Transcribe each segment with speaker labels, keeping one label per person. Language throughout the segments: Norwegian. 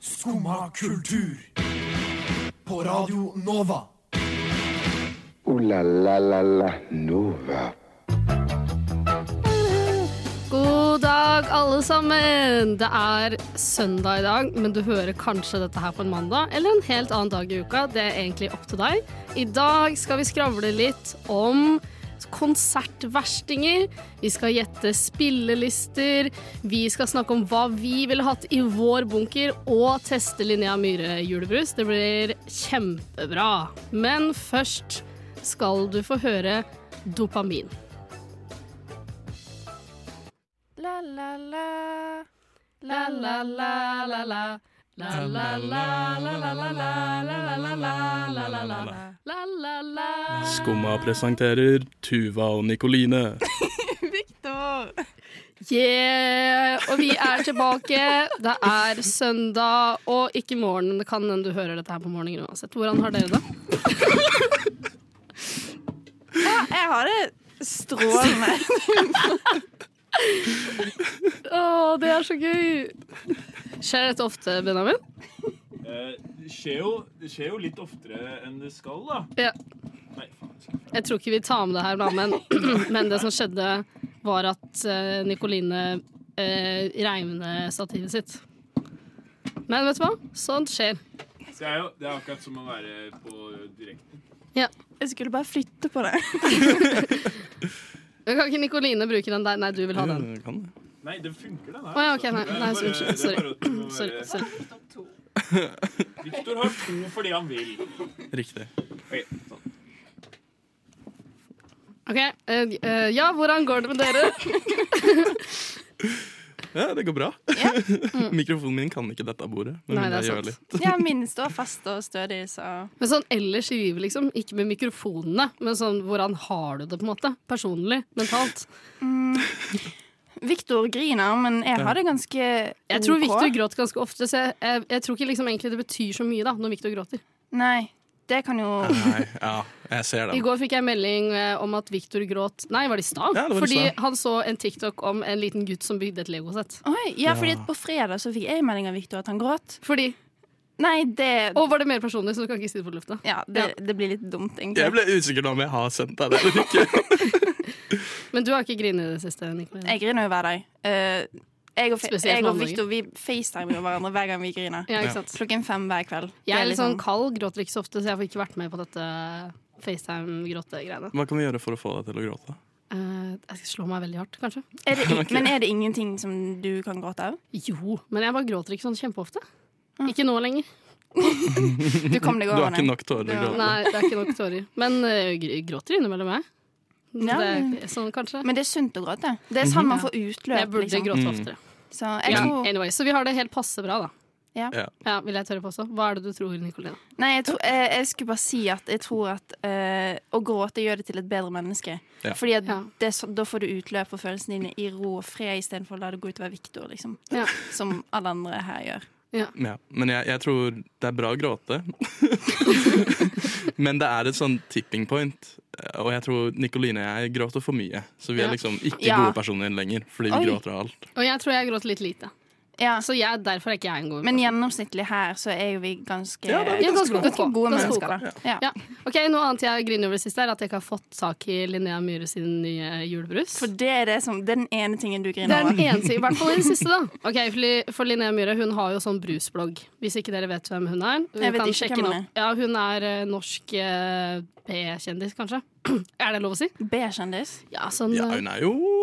Speaker 1: Skumma kultur. På Radio Nova.
Speaker 2: Ooh la la la la Nova.
Speaker 3: God dag, alle sammen! Det er søndag i dag, men du hører kanskje dette her på en mandag eller en helt annen dag i uka. Det er egentlig opp til deg. I dag skal vi skravle litt om konsertverstinger. Vi skal gjette spillelister. Vi skal snakke om hva vi ville hatt i vår bunker, og teste Linnea Myhre julebrus. Det blir kjempebra. Men først skal du få høre dopamin.
Speaker 4: La, la, la.
Speaker 3: La la la la la La la la la la la la la la la la la la La la la
Speaker 5: Skumma presenterer Tuva og Nikoline.
Speaker 4: Victor!
Speaker 3: Yeah! Og vi er tilbake. Det er søndag, og ikke morgen. men Det kan hende du hører dette her på morgenen uansett. Hvordan har dere det?
Speaker 4: Ja, jeg har det strålende.
Speaker 3: Å, det er så gøy! Skjer dette ofte, Benjamin?
Speaker 6: Eh, Det skjer, jo, det skjer jo litt oftere enn det skal, da.
Speaker 3: Ja.
Speaker 6: Nei, faen. jeg skal-
Speaker 3: Jeg tror ikke vi tar med det her, da, men, men det som skjedde, var at eh, Nikoline eh, reiv ned stativet sitt. Men vet du hva? Sånt skjer.
Speaker 6: Det er jo det er akkurat som å være på direkten.
Speaker 4: Jeg skulle bare flytte på det.
Speaker 3: Men Kan ikke Nikoline bruke den der? Nei, du vil ha den.
Speaker 5: Eh, kan det.
Speaker 6: Nei, det funker, den her.
Speaker 3: Å ja,
Speaker 6: altså.
Speaker 3: ok, nei,
Speaker 6: Det er
Speaker 3: nei,
Speaker 6: bare-
Speaker 3: unnskyld,
Speaker 6: det er
Speaker 3: sorry.
Speaker 6: bare at du må
Speaker 3: Sorry.
Speaker 6: være-
Speaker 3: sorry.
Speaker 6: Victor har to fordi han vil.
Speaker 5: Riktig.
Speaker 6: Ok, sånn.
Speaker 3: Ok, eh, eh, Ja, hvordan går det med dere?
Speaker 5: Ja, det går bra.
Speaker 4: Ja.
Speaker 5: Mikrofonen min kan ikke dette bordet. Men
Speaker 3: Mm. Nei, det er
Speaker 5: jeg gjør
Speaker 3: sant.
Speaker 5: litt.
Speaker 4: Ja, min står fast og stødig, så
Speaker 3: Men sånn ellers i livet, liksom. Ikke med mikrofonene, men sånn hvordan har du det, på en måte? Personlig, mentalt.
Speaker 4: Victor griner, men jeg har det ganske
Speaker 3: Jeg tror
Speaker 4: OK.
Speaker 3: Victor gråter ganske ofte, så jeg, jeg, jeg tror ikke liksom egentlig det betyr så mye da, når Victor gråter.
Speaker 4: Nei, det kan jo
Speaker 5: Nei, ja, jeg ser
Speaker 3: I
Speaker 5: den.
Speaker 3: går fikk jeg melding eh, om at Victor gråt Nei, var det i stad?
Speaker 5: Ja, det var i
Speaker 3: Fordi
Speaker 5: stad.
Speaker 3: han så en TikTok om en liten gutt som bygde et legosett.
Speaker 4: Oi, ja, fordi at på fredag så fikk jeg melding av Victor at han gråt.
Speaker 3: Fordi
Speaker 4: Nei, det
Speaker 3: Og var det mer personlig, så du kan ikke si det på lufta.
Speaker 4: Ja, det, det blir litt dumt,
Speaker 5: Jeg
Speaker 4: egentlig.
Speaker 5: ble usikker nå om jeg har sendt deg det eller ikke.
Speaker 3: Men du har ikke grinet i det siste, Nicolai.
Speaker 4: Jeg griner jo hver dag. Eh, jeg og, Fe-
Speaker 3: Spesielt
Speaker 4: jeg og
Speaker 3: mandager.
Speaker 4: Victor vi facetimer jo hverandre hver gang vi griner.
Speaker 3: Ja, ikke sant?
Speaker 4: Klokken fem hver kveld. Det
Speaker 3: Jeg er litt sånn
Speaker 4: liksom-
Speaker 3: kald, gråter ikke så ofte, så jeg får ikke vært med på dette FaceTime-gråtegreiene.
Speaker 5: Hva kan vi gjøre for å få deg til å gråte?
Speaker 3: Eh, jeg skal slå meg veldig hardt, kanskje.
Speaker 4: er det, in- Men er det ingenting som du kan gråte av?
Speaker 3: Jo, men jeg bare gråter ikke sånn kjempeofte. Ikke nå lenger.
Speaker 4: Du kom deg
Speaker 5: Du
Speaker 4: over
Speaker 5: har ikke
Speaker 4: det.
Speaker 5: nok tårer til å gråte.
Speaker 3: Nei, det er ikke nok tårer. Men eh, gr- gråter innimellom meg.
Speaker 4: Ja,
Speaker 3: det
Speaker 4: men-
Speaker 3: er sånn, kanskje.
Speaker 4: Men det er sunt å gråte. Det er sånn man får utløp.
Speaker 3: jeg burde
Speaker 4: liksom.
Speaker 3: gråte
Speaker 5: Mm.
Speaker 3: oftere.
Speaker 4: Så jeg
Speaker 3: Ja,
Speaker 4: tror,
Speaker 3: anyway, så vi har det helt passe bra, da.
Speaker 4: Ja.
Speaker 5: Ja.
Speaker 3: Ja, vil jeg tørre på også. Hva er det du tror, Nicoline?
Speaker 4: nei, jeg, tror, jeg, jeg skulle bare si at jeg tror at eh, å gråte gjør det til et bedre menneske.
Speaker 5: Ja.
Speaker 4: Fordi at
Speaker 3: Ja.
Speaker 4: det, er så- da får du utløp for følelsene dine i ro og fred istedenfor å la det gå utover Viktor, liksom.
Speaker 3: Ja.
Speaker 4: Som alle andre her gjør.
Speaker 5: Ja, men jeg, jeg tror det er bra å gråte. men det er et sånn tipping point. Og jeg tror Nikoline og jeg gråter for mye. Så vi
Speaker 3: Ja.
Speaker 5: er liksom ikke
Speaker 4: Ja.
Speaker 5: gode personer lenger, fordi vi
Speaker 4: Oi.
Speaker 5: gråter av alt.
Speaker 3: Og jeg tror jeg gråter litt lite.
Speaker 4: Ja.
Speaker 3: Så jeg, derfor er ikke jeg en god
Speaker 4: Men gjennomsnittlig her så er jo vi ganske,
Speaker 5: Ja, det er
Speaker 3: Ja, ganske ok.
Speaker 4: ganske gode
Speaker 3: Ganske ok.
Speaker 4: mennesker, da. Ja.
Speaker 3: Ja. Ok, Noe annet jeg griner over det siste, er at jeg ikke har fått tak i Linnea Myhre sin nye julebrus.
Speaker 4: For det er, det, som, det er den ene tingen du
Speaker 3: Det
Speaker 4: griner
Speaker 3: er
Speaker 4: over.
Speaker 3: den e- eneste, i hvert fall i det siste, da. Ok, fordi- For Linnea Myhre hun har jo sånn brusblogg, hvis ikke dere vet hvem hun er. Hun
Speaker 4: Jeg vet
Speaker 3: kan
Speaker 4: ikke
Speaker 3: sjekke
Speaker 4: hvem
Speaker 3: den
Speaker 4: hun
Speaker 3: opp. Ja, Hun er eh, norsk eh, B-kjendis, kanskje. er det lov å si?
Speaker 4: B-kjendis.
Speaker 3: Ja, sånn
Speaker 5: Ja,
Speaker 3: eh,
Speaker 5: hun er jo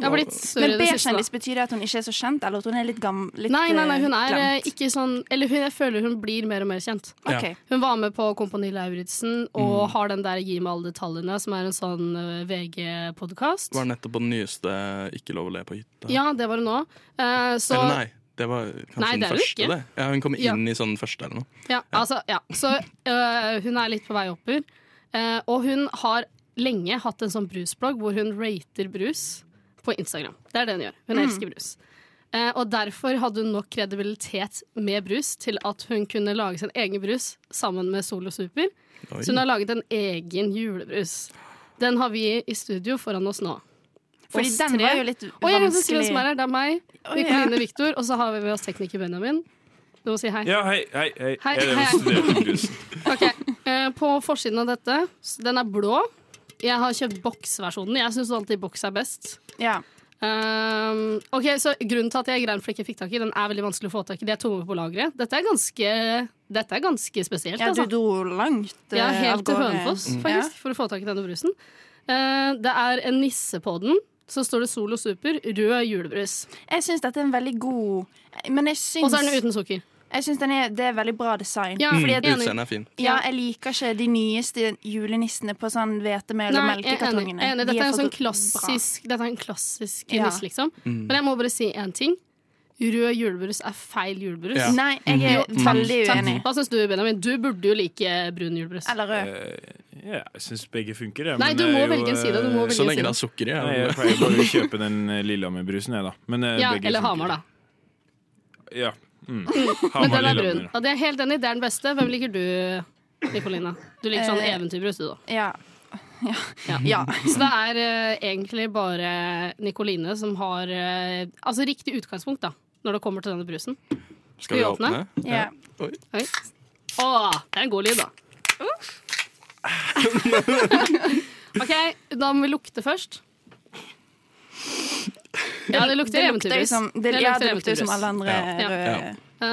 Speaker 3: Jeg har blitt større
Speaker 4: Men
Speaker 3: i det siste.
Speaker 4: B-kjendis
Speaker 3: da.
Speaker 4: betyr det at hun ikke er så kjent, eller at hun er litt gammel? Litt,
Speaker 3: Nei, nei, nei, hun
Speaker 4: eh,
Speaker 3: er eh,
Speaker 4: glemt.
Speaker 3: ikke sånn Eller hun, jeg føler hun blir mer og mer kjent.
Speaker 5: Ja.
Speaker 4: Ok.
Speaker 3: Hun var med på Kompani Lauritzen og har den der Gi meg alle detaljene, som er en sånn VG-podkast.
Speaker 5: Var nettopp på den nyeste Ikke lov å le på hytta.
Speaker 3: Ja, det var hun òg. Eh, så
Speaker 5: Eller nei, det var kanskje
Speaker 3: Nei, det er
Speaker 5: den
Speaker 3: hun
Speaker 5: første.
Speaker 3: ikke.
Speaker 5: Det. Ja, hun kom
Speaker 3: Ja.
Speaker 5: inn i sånn første eller noe.
Speaker 3: Ja, altså, ja. Så øh, hun er litt på vei oppover. Eh, og hun har lenge hatt en sånn brusblogg hvor hun rater brus på Instagram. Det er det hun gjør. Hun elsker brus. Eh, og derfor hadde hun nok kredibilitet med brus til at hun kunne lage sin egen brus sammen med Solo Super.
Speaker 5: Oi.
Speaker 3: Så hun har laget en egen julebrus. Den har vi i studio foran oss nå.
Speaker 4: Fordi
Speaker 3: Oss
Speaker 4: den
Speaker 3: tre.
Speaker 4: var jo
Speaker 3: Å,
Speaker 4: litt
Speaker 3: jeg glemte å si hvem
Speaker 4: vanskelig.
Speaker 3: som er her. Det er meg,
Speaker 4: Å, ja.
Speaker 3: Nikoline Victor, og så har vi med oss tekniker Benjamin. Du må si hei.
Speaker 6: Ja, hei, hei, hei.
Speaker 3: Hei, hei.
Speaker 6: Jeg lever studert i brus.
Speaker 3: Ok, eh, På forsiden av dette, s- den er blå. Jeg har kjøpt boksversjonen. Jeg syns alltid boks er best.
Speaker 4: Ja.
Speaker 3: Ehm, ok, så Grunnen til at jeg greinflekken fikk tak i, den er veldig vanskelig å få tak i. De er tomme på lageret. Dette er ganske, dette er ganske spesielt.
Speaker 4: ja, du
Speaker 3: altså.
Speaker 4: dro langt.
Speaker 3: Ja,
Speaker 4: eh,
Speaker 3: helt
Speaker 4: av
Speaker 3: til
Speaker 4: gårde.
Speaker 3: Hønefoss,
Speaker 4: Mm.
Speaker 3: faktisk, for å få tak i denne brusen. Eh, det er en nisse på den. Så står det Solo Super, rød julebrus.
Speaker 4: Ja. Jeg syns dette er en veldig god Men jeg
Speaker 3: Og
Speaker 4: syns,
Speaker 3: så er den uten sukker.
Speaker 4: jeg syns den er, det er veldig bra design.
Speaker 3: Ja,
Speaker 5: Mm,
Speaker 3: fordi at-
Speaker 5: Utseendet er fin.
Speaker 4: Ja, jeg liker ikke de nyeste julenissene på sånn hvetemel
Speaker 3: Nei, jeg
Speaker 4: og
Speaker 3: er enig.
Speaker 4: melkekartongene.
Speaker 3: Jeg er enig.
Speaker 4: De
Speaker 3: Dette er en
Speaker 4: for
Speaker 3: sånn
Speaker 4: bra.
Speaker 3: klassisk, dette er en klassisk
Speaker 4: Ja.
Speaker 3: nisse, liksom.
Speaker 6: Mm.
Speaker 3: Men jeg må bare si én ting. Rød julebrus er feil julebrus.
Speaker 5: Ja.
Speaker 4: Nei, jeg er
Speaker 3: Mm.
Speaker 4: veldig uenig.
Speaker 3: Hva syns du, Benjamin? Du burde jo like brun julebrus.
Speaker 4: Eller rød.
Speaker 6: Ja, jeg syns begge funker. jeg,
Speaker 3: Nei,
Speaker 6: men
Speaker 3: du
Speaker 6: jeg
Speaker 3: må
Speaker 6: er jo,
Speaker 3: velge en side, du må
Speaker 6: eh,
Speaker 3: velge-
Speaker 5: Så lenge det er sukker i.
Speaker 6: Nei,
Speaker 5: er
Speaker 6: jeg
Speaker 5: det-
Speaker 6: pleier bare å kjøpe den eh, Lillehammer-brusen, jeg, da. Men eh,
Speaker 3: Ja,
Speaker 6: begge
Speaker 3: eller
Speaker 6: funker.
Speaker 3: Hamar, da.
Speaker 6: Ja. Mm.
Speaker 3: Men
Speaker 6: Hamar,
Speaker 3: den er brun.
Speaker 6: Lillehammer.
Speaker 3: Og det er jeg helt enig, det er den beste. Hvem liker du, Nicolina? Du liker sånn
Speaker 4: Eh,
Speaker 3: eventyrbrus, du, da.
Speaker 4: Ja.
Speaker 3: Ja.
Speaker 4: Ja. ja.
Speaker 3: Så det er eh, egentlig bare Nicoline som har eh, Altså riktig utgangspunkt, da, når det kommer til denne brusen.
Speaker 5: Skal
Speaker 3: Skal
Speaker 5: vi
Speaker 3: vi
Speaker 5: åpne?
Speaker 4: ja.
Speaker 3: Oi. Å, det er en god lyd, da. OK, da må vi lukte først. Ja, det lukter
Speaker 4: Det lukter jo
Speaker 3: eventyrbrus.
Speaker 4: som, det, ja, det lukter jo som
Speaker 3: eventyrbrus.
Speaker 4: alle andre
Speaker 3: Ja.
Speaker 4: røde.
Speaker 3: Eh,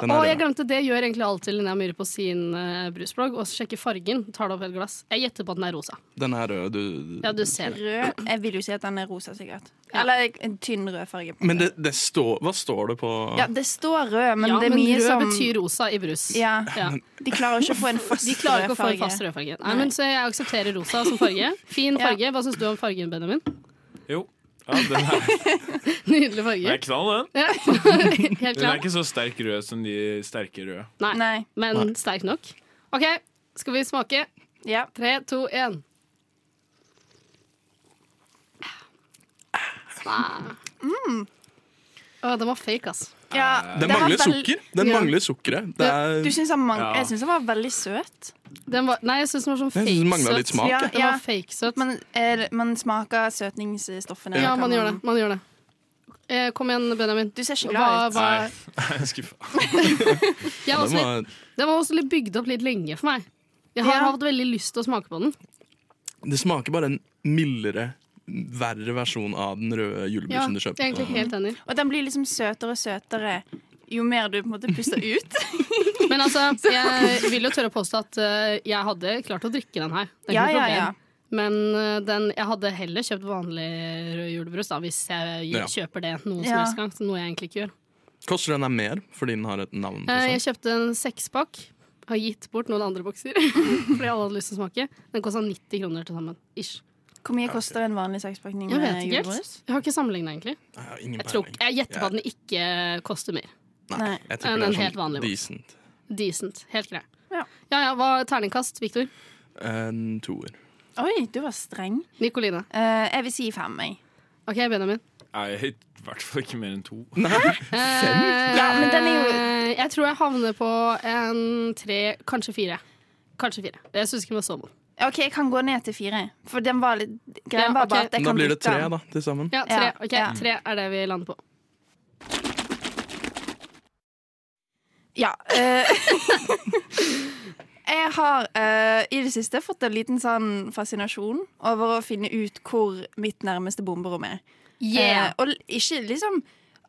Speaker 5: Den er
Speaker 3: og
Speaker 5: rød.
Speaker 3: jeg glemte det gjør egentlig alltid Linnea Myhre på sin uh, brusblogg. Og sjekker fargen. Tar det opp i et glass. Jeg gjetter på at den er rosa.
Speaker 5: Den er rød. Du,
Speaker 3: Ja, du ser det.
Speaker 4: Rød Jeg vil jo si at den er rosa, sikkert.
Speaker 3: Ja.
Speaker 4: Eller eh, en tynn rød farge. på
Speaker 5: Men
Speaker 4: den.
Speaker 5: det, det står Hva står det på
Speaker 4: ja, det står rød, men
Speaker 3: ja,
Speaker 4: det er
Speaker 3: men
Speaker 4: mye
Speaker 3: rød
Speaker 4: som
Speaker 3: betyr rosa i brus.
Speaker 4: ja,
Speaker 3: Ja.
Speaker 4: De klarer ikke å få en fast
Speaker 3: De klarer ikke å få en
Speaker 4: rødfarge.
Speaker 3: fast rødfarge. Nei, men så jeg aksepterer rosa som farge. Fin
Speaker 4: Ja.
Speaker 3: farge. Hva syns du om fargen, Benjamin?
Speaker 6: Jo. Ja, den er,
Speaker 3: Nydelig
Speaker 6: den
Speaker 3: farge.
Speaker 6: er knall, den.
Speaker 3: Ja. Helt
Speaker 6: Den er
Speaker 3: klar.
Speaker 6: ikke så sterk rød som de sterke røde.
Speaker 3: Nei,
Speaker 4: Nei.
Speaker 3: men sterk nok. OK, skal vi smake?
Speaker 4: Ja.
Speaker 3: Tre, to, én. Å, den var fake, ass.
Speaker 4: ja
Speaker 5: Den
Speaker 4: det var
Speaker 5: mangler
Speaker 4: vel-
Speaker 5: sukker! Den
Speaker 3: Ja.
Speaker 5: mangler sukkeret. Det er,
Speaker 4: Du syns han mang
Speaker 6: Ja.
Speaker 4: Jeg syns han var veldig søt.
Speaker 3: Den var, nei, jeg syns den var sånn
Speaker 5: jeg syns
Speaker 3: fake
Speaker 5: den mangla litt
Speaker 3: søt.
Speaker 5: smak.
Speaker 4: Ja,
Speaker 5: jeg.
Speaker 3: Den var fake søt.
Speaker 4: Man, eh, man smaker søtningsstoffene.
Speaker 3: Ja,
Speaker 4: Kan
Speaker 3: man gjør det. Man gjør det. Eh, kom igjen, Benjamin.
Speaker 4: Du ser ikke
Speaker 3: Hva-
Speaker 4: glad ut.
Speaker 3: hva-
Speaker 6: Nei, jeg er skuffa.
Speaker 3: Jeg er
Speaker 5: Den
Speaker 3: også litt
Speaker 5: var,
Speaker 3: Den var også litt bygd opp litt lenge for meg. Jeg har
Speaker 4: Ja.
Speaker 3: hatt veldig lyst til å smake på den.
Speaker 5: det smaker bare en mildere, verre versjon av den røde
Speaker 3: Ja,
Speaker 5: julebrusen du
Speaker 3: jeg er
Speaker 5: kjøper.
Speaker 3: egentlig helt enig.
Speaker 4: Og den blir liksom søtere og søtere jo mer du på en måte puster ut.
Speaker 3: Men altså, jeg vil jo tørre å påstå at eh, jeg hadde klart å drikke den her. Det er
Speaker 4: Ja,
Speaker 3: ikke noe
Speaker 4: ja,
Speaker 3: problem.
Speaker 4: ja.
Speaker 3: Men eh, den, jeg hadde heller kjøpt vanlig rød julebrus da, hvis jeg
Speaker 5: Ja.
Speaker 3: kjøper det noen som
Speaker 4: Ja.
Speaker 3: helst gang. så Noe jeg egentlig ikke gjør.
Speaker 5: Koster den her mer fordi den har et navn? sånn? på
Speaker 3: Eh,
Speaker 5: seg?
Speaker 3: Jeg kjøpte en sekspakk. Har gitt bort noen andre bokser fordi alle hadde lyst til å smake. Den kosta 90 kroner til sammen. Ish.
Speaker 4: Hvor mye koster en vanlig sakspakning
Speaker 3: Jeg
Speaker 4: med
Speaker 3: vet ikke helt.
Speaker 4: julebrus?
Speaker 3: Jeg har ikke sammenligna, egentlig.
Speaker 5: Jeg har ingen
Speaker 3: Jeg, tror,
Speaker 5: peiling.
Speaker 3: jeg gjetter på at den ikke koster mer.
Speaker 4: Nei.
Speaker 5: Jeg tipper
Speaker 3: en
Speaker 5: det er
Speaker 3: helt
Speaker 5: sånn
Speaker 3: vanlig boks.
Speaker 5: Decent.
Speaker 3: Decent. Helt grei.
Speaker 4: Ja.
Speaker 3: ja, ja hva terningkast, Victor?
Speaker 5: En toer.
Speaker 4: Oi, du var streng.
Speaker 3: Nicoline.
Speaker 4: Eh, jeg vil si fem, jeg.
Speaker 3: OK, Benjamin.
Speaker 6: Nei, i hvert fall ikke mer enn to.
Speaker 3: Eh,
Speaker 4: Ja, men den er jo-
Speaker 3: Jeg tror jeg havner på en tre, kanskje fire. Kanskje fire. Jeg syns ikke den var så vond.
Speaker 4: OK, jeg kan gå ned til fire. For den var litt Greien
Speaker 3: Ja,
Speaker 4: var
Speaker 3: ok.
Speaker 4: bare at jeg
Speaker 5: Da
Speaker 4: kan
Speaker 5: blir det
Speaker 4: drikke
Speaker 5: tre
Speaker 4: den.
Speaker 5: da, til sammen.
Speaker 3: Ja, tre.
Speaker 4: Ja,
Speaker 3: ok,
Speaker 4: ja.
Speaker 3: tre er det vi lander på.
Speaker 4: Ja. eh, jeg har eh, i det siste fått en liten sånn fascinasjon over å finne ut hvor mitt nærmeste bomberom er. Eh, og l- ikke liksom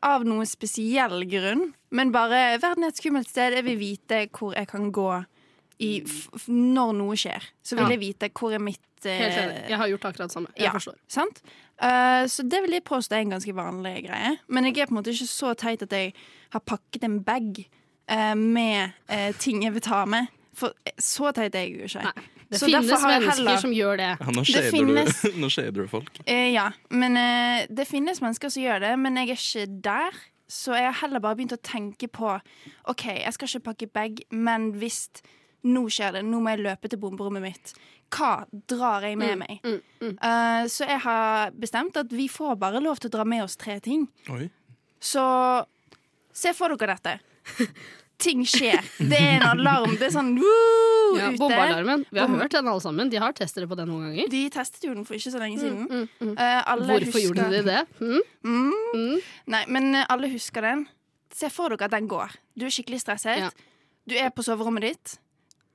Speaker 4: av noen spesiell grunn, men bare verden er et skummelt sted. Jeg vil vite hvor jeg kan gå i f f når noe skjer. Så vil
Speaker 3: Ja.
Speaker 4: jeg vite hvor er mitt eh,
Speaker 3: Helt enig. Jeg har gjort akkurat det samme. Jeg
Speaker 4: ja,
Speaker 3: forstår.
Speaker 4: Sant? Eh, så det vil jeg påstå er en ganske vanlig greie. Men jeg er på en måte ikke så teit at jeg har pakket en bag eh, med eh, ting jeg vil ta med. For eh, så teit er jeg jo ikke.
Speaker 3: Nei. Det
Speaker 4: Så derfor
Speaker 3: finnes
Speaker 4: har jeg
Speaker 3: mennesker
Speaker 4: heller-
Speaker 3: som gjør det.
Speaker 5: Ja, nå
Speaker 4: Det
Speaker 5: shader
Speaker 4: finnes-
Speaker 5: du, nå shader du folk.
Speaker 4: Eh, ja, men eh, det finnes mennesker som gjør det, men jeg er ikke der. Så jeg har heller bare begynt å tenke på OK, jeg skal ikke pakke bag, men hvis nå skjer det, nå må jeg løpe til bomberommet mitt. Hva drar jeg
Speaker 3: Mm,
Speaker 4: med meg? Eh, så jeg har bestemt at vi får bare lov til å dra med oss tre ting.
Speaker 5: Oi.
Speaker 4: Så se for dere dette. Ting skjer. Det er en alarm. Det er sånn woo,
Speaker 3: Ja,
Speaker 4: ute.
Speaker 3: Bombealarmen. Vi har
Speaker 4: Bom-
Speaker 3: hørt den alle sammen. De har testet det på den noen ganger.
Speaker 4: De testet jo den for ikke så
Speaker 3: Mm,
Speaker 4: lenge siden. Eh, alle
Speaker 3: Hvorfor gjorde de det? Mm?
Speaker 4: Nei, men eh, alle husker den. Se for dere at den går. Du er skikkelig stresset.
Speaker 3: Ja.
Speaker 4: Du er på soverommet ditt.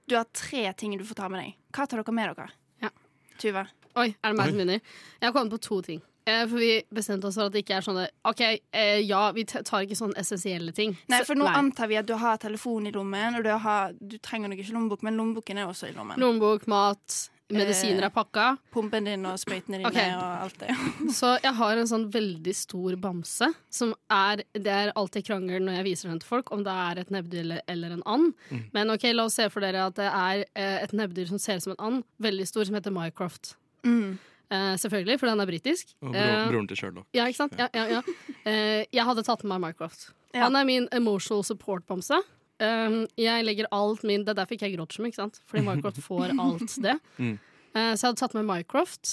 Speaker 4: Du har tre ting du får ta med deg. Hva tar dere med dere?
Speaker 3: Ja.
Speaker 4: Tuva.
Speaker 3: Oi, er det meg
Speaker 5: Oi.
Speaker 3: som begynner? Jeg har kommet på to ting. Eh, For vi bestemte oss for at det ikke er sånne OK, eh, ja, vi t- tar ikke sånne essensielle ting.
Speaker 4: Nei,
Speaker 3: Så-
Speaker 4: for nå antar vi at du har telefon i lommen, og du, har, du trenger nok ikke lommebok, men lommeboken er også i lommen.
Speaker 3: Lommebok, mat,
Speaker 4: Eh,
Speaker 3: medisiner er pakka.
Speaker 4: Pumpen din og sprøytene dine
Speaker 3: Ok.
Speaker 4: og alt det.
Speaker 3: Så jeg har en sånn veldig stor bamse. Som er, det er alltid krangel når jeg viser den til folk, om det er et nebbdyr eller, eller en and. Men ok, la oss se for dere at det er eh, et nebbdyr som ser ut som en and, veldig stor, som heter Mycroft.
Speaker 4: Mm.
Speaker 3: Eh, selvfølgelig, for den er britisk.
Speaker 5: Og
Speaker 3: Eh,
Speaker 5: bro, broren til Sherlock.
Speaker 3: Ja, ikke sant? Ja, ja, ja. Eh, jeg hadde tatt med meg Minecraft.
Speaker 4: Ja.
Speaker 3: Han er min emotional support-bamse. Um, jeg legger alt min Det er derfor ikke jeg gråter så mye, ikke sant? fordi Minecraft får alt det.
Speaker 5: Mm.
Speaker 3: Eh, så jeg hadde tatt med Minecraft.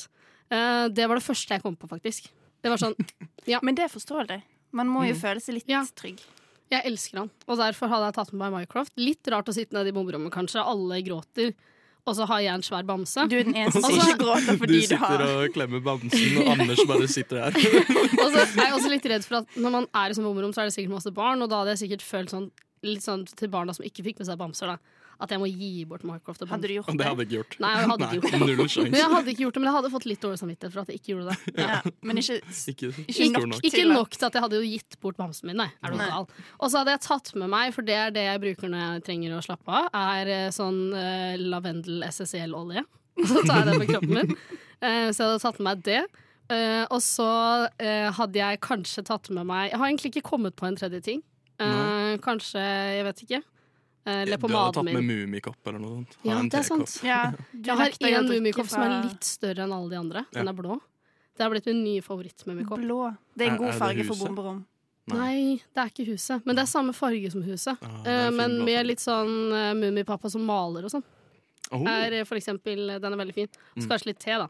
Speaker 3: Eh, det var det første jeg kom på, faktisk. Det var sånn,
Speaker 4: Men det er forståelig. Man må jo føle seg litt
Speaker 3: Mm. Ja.
Speaker 4: trygg.
Speaker 3: Jeg elsker han, og derfor hadde jeg tatt med meg Minecraft. Litt rart å sitte nede i bomberommet, kanskje. Alle gråter, og så har jeg en svær bamse.
Speaker 4: Du er den eneste som
Speaker 3: Altså,
Speaker 4: ikke gråter fordi du,
Speaker 5: sitter
Speaker 4: har
Speaker 5: og klemmer bamsen, og Anders bare sitter der.
Speaker 3: Og så er jeg også litt redd for at når man er i sånn bomrom, så er det sikkert masse barn, og da hadde jeg sikkert følt sånn, litt sånn til barna som ikke fikk med seg bamser, da, at jeg må gi bort Minecraft og bamser.
Speaker 4: Hadde du gjort
Speaker 5: Og det
Speaker 4: det?
Speaker 5: hadde jeg ikke gjort.
Speaker 3: Nei, jeg hadde ikke gjort det.
Speaker 5: Null
Speaker 3: Men
Speaker 5: sjanse.
Speaker 3: jeg hadde ikke gjort det, men jeg hadde fått litt dårlig samvittighet for at jeg ikke gjorde det.
Speaker 4: Ja. Men ikke,
Speaker 5: Ikke,
Speaker 4: Ikke
Speaker 5: stor
Speaker 4: nok.
Speaker 5: nok.
Speaker 3: Ikke
Speaker 4: til det.
Speaker 3: nok til at jeg hadde jo gitt bort bamsen min, nei. Er du
Speaker 4: Nei.
Speaker 3: gal? Og så hadde jeg tatt med meg, for det er det jeg bruker når jeg trenger å slappe av, er eh, sånn eh, lavendel-SSL-olje. Så tar jeg det på kroppen min. Eh, så jeg hadde tatt med meg det. Eh, og så eh, hadde jeg kanskje tatt med meg Jeg har egentlig ikke kommet på en tredje ting. Eh, kanskje, jeg vet ikke. Eh,
Speaker 5: Du hadde tatt
Speaker 3: Lepomaden
Speaker 5: med
Speaker 3: min.
Speaker 5: mummikopp eller noe sånt. Ha
Speaker 3: Ja,
Speaker 5: en
Speaker 3: det er
Speaker 5: tekopp.
Speaker 3: sant.
Speaker 4: ja, du
Speaker 3: Jeg har
Speaker 4: nekter jo å
Speaker 3: én
Speaker 4: drikke
Speaker 3: mummikopp som er
Speaker 4: fra
Speaker 3: litt større enn alle de andre. Den
Speaker 5: Ja.
Speaker 3: er blå. Det har blitt min nye favorittmummikopp.
Speaker 4: blå. Det er
Speaker 5: Er-
Speaker 4: en
Speaker 5: er
Speaker 4: god
Speaker 5: det
Speaker 4: farge for
Speaker 5: huset?
Speaker 4: bomberom.
Speaker 5: Nei.
Speaker 3: Nei, det er ikke huset. Men det er samme farge som huset.
Speaker 5: Ja, det er
Speaker 3: Eh,
Speaker 5: fin
Speaker 3: men
Speaker 5: blå
Speaker 3: med
Speaker 5: farge.
Speaker 3: litt sånn uh, Mummipappa som maler og sånn.
Speaker 5: Oh, Mm.
Speaker 3: Er eh, for eksempel, eh, Den er veldig fin. Så kanskje litt te, da.